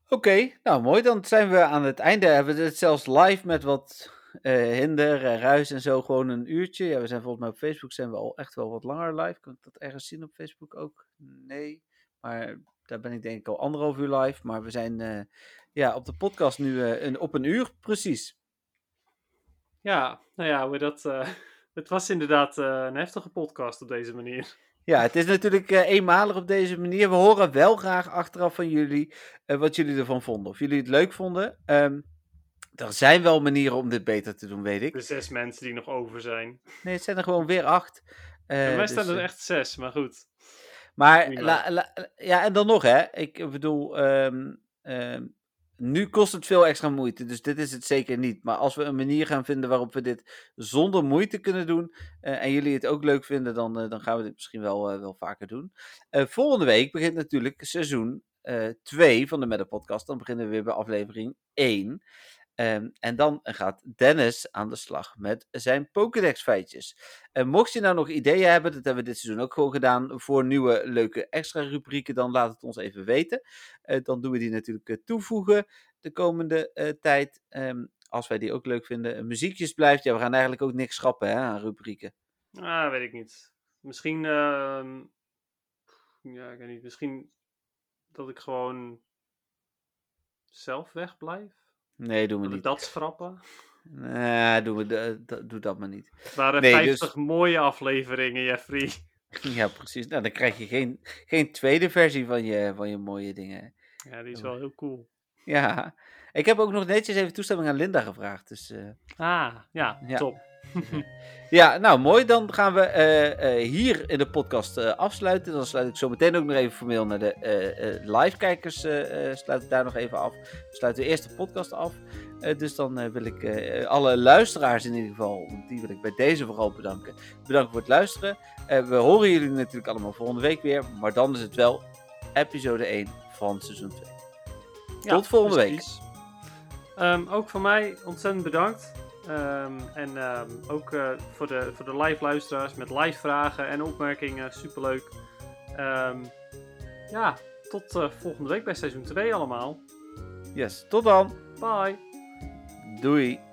Speaker 3: Oké, nou mooi. Dan zijn we aan het einde. Hebben we het zelfs live met wat eh, hinder en ruis en zo gewoon een uurtje. Ja, we zijn volgens mij op Facebook zijn we al echt wel wat langer live. Kan ik dat ergens zien op Facebook ook? Nee. Maar daar ben ik denk ik al anderhalf uur live. Maar we zijn eh, ja, op de podcast nu eh, een, op een uur precies.
Speaker 4: Ja, nou ja, hoe dat, eh, het was inderdaad eh, een heftige podcast op deze manier.
Speaker 3: Ja, het is natuurlijk eh, eenmalig op deze manier. We horen wel graag achteraf van jullie eh, wat jullie ervan vonden. Of jullie het leuk vonden. Ehm, er zijn wel manieren om dit beter te doen, weet
Speaker 4: De
Speaker 3: ik.
Speaker 4: zes mensen die nog over zijn.
Speaker 3: Nee, het zijn er gewoon weer acht. Eh,
Speaker 4: Bij mij
Speaker 3: dus,
Speaker 4: staan er
Speaker 3: eh,
Speaker 4: echt zes, maar goed.
Speaker 3: Maar
Speaker 4: prima.
Speaker 3: la- la- ja, en dan nog, hè? Ik bedoel, ehm, ehm, nu kost het veel extra moeite, dus dit is het zeker niet. Maar als we een manier gaan vinden waarop we dit zonder moeite kunnen doen eh, en jullie het ook leuk vinden, dan, eh, dan gaan we dit misschien wel, eh, wel vaker doen. Eh, volgende week begint natuurlijk seizoen 2 van de Meta Podcast. Dan beginnen we weer bij aflevering 1. Ehm, en dan gaat Dennis aan de slag met zijn Pokédex-feitjes. En mocht je nou nog ideeën hebben, dat hebben we dit seizoen ook gewoon gedaan, voor nieuwe leuke extra rubrieken, dan laat het ons even weten. Eh, dan doen we die natuurlijk eh, toevoegen de komende eh, tijd, ehm, als wij die ook leuk vinden. Eh, muziekjes blijft, ja, we gaan eigenlijk ook niks schrappen hè, aan rubrieken.
Speaker 4: Ah, weet ik niet. Misschien, ehm, ja, ik weet niet. Misschien dat ik gewoon zelf wegblijf.
Speaker 3: Nee, doen we
Speaker 4: Dat we
Speaker 3: niet.
Speaker 4: dat schrappen.
Speaker 3: Nee, doen we, de- dat- doe dat maar niet.
Speaker 4: Het waren
Speaker 3: Nee, dus-
Speaker 4: 50 mooie afleveringen, Jeffrey.
Speaker 3: Ja, precies. Nou, dan krijg je geen, geen tweede versie van je, van je mooie dingen.
Speaker 4: Ja, die is wel heel cool.
Speaker 3: Ja. Ik heb ook nog netjes even toestemming aan Linda gevraagd. Dus, eh,
Speaker 4: Ah, ja,
Speaker 3: Ja.
Speaker 4: top.
Speaker 3: Ja, nou mooi. Dan gaan we eh, eh, hier in de podcast eh, afsluiten. Dan sluit ik zo meteen ook nog even formeel naar de eh, eh, live-kijkers. eh, eh, sluit ik daar nog even af. We sluiten eerst de podcast af. Eh, dus dan eh, wil ik eh, alle luisteraars in ieder geval, want die wil ik bij deze vooral bedanken. Bedankt voor het luisteren. Eh, we horen jullie natuurlijk allemaal volgende week weer. Maar dan is het wel episode 1 van seizoen 2.
Speaker 4: Ja,
Speaker 3: Tot volgende week.
Speaker 4: week. ook van mij ontzettend bedankt. Ehm, en ehm, ook eh, voor, de, voor de live luisteraars met live vragen en opmerkingen. Superleuk. Ehm, ja, tot eh, volgende week bij seizoen 2 allemaal.
Speaker 3: Yes, tot dan.
Speaker 4: Bye.
Speaker 3: Doei.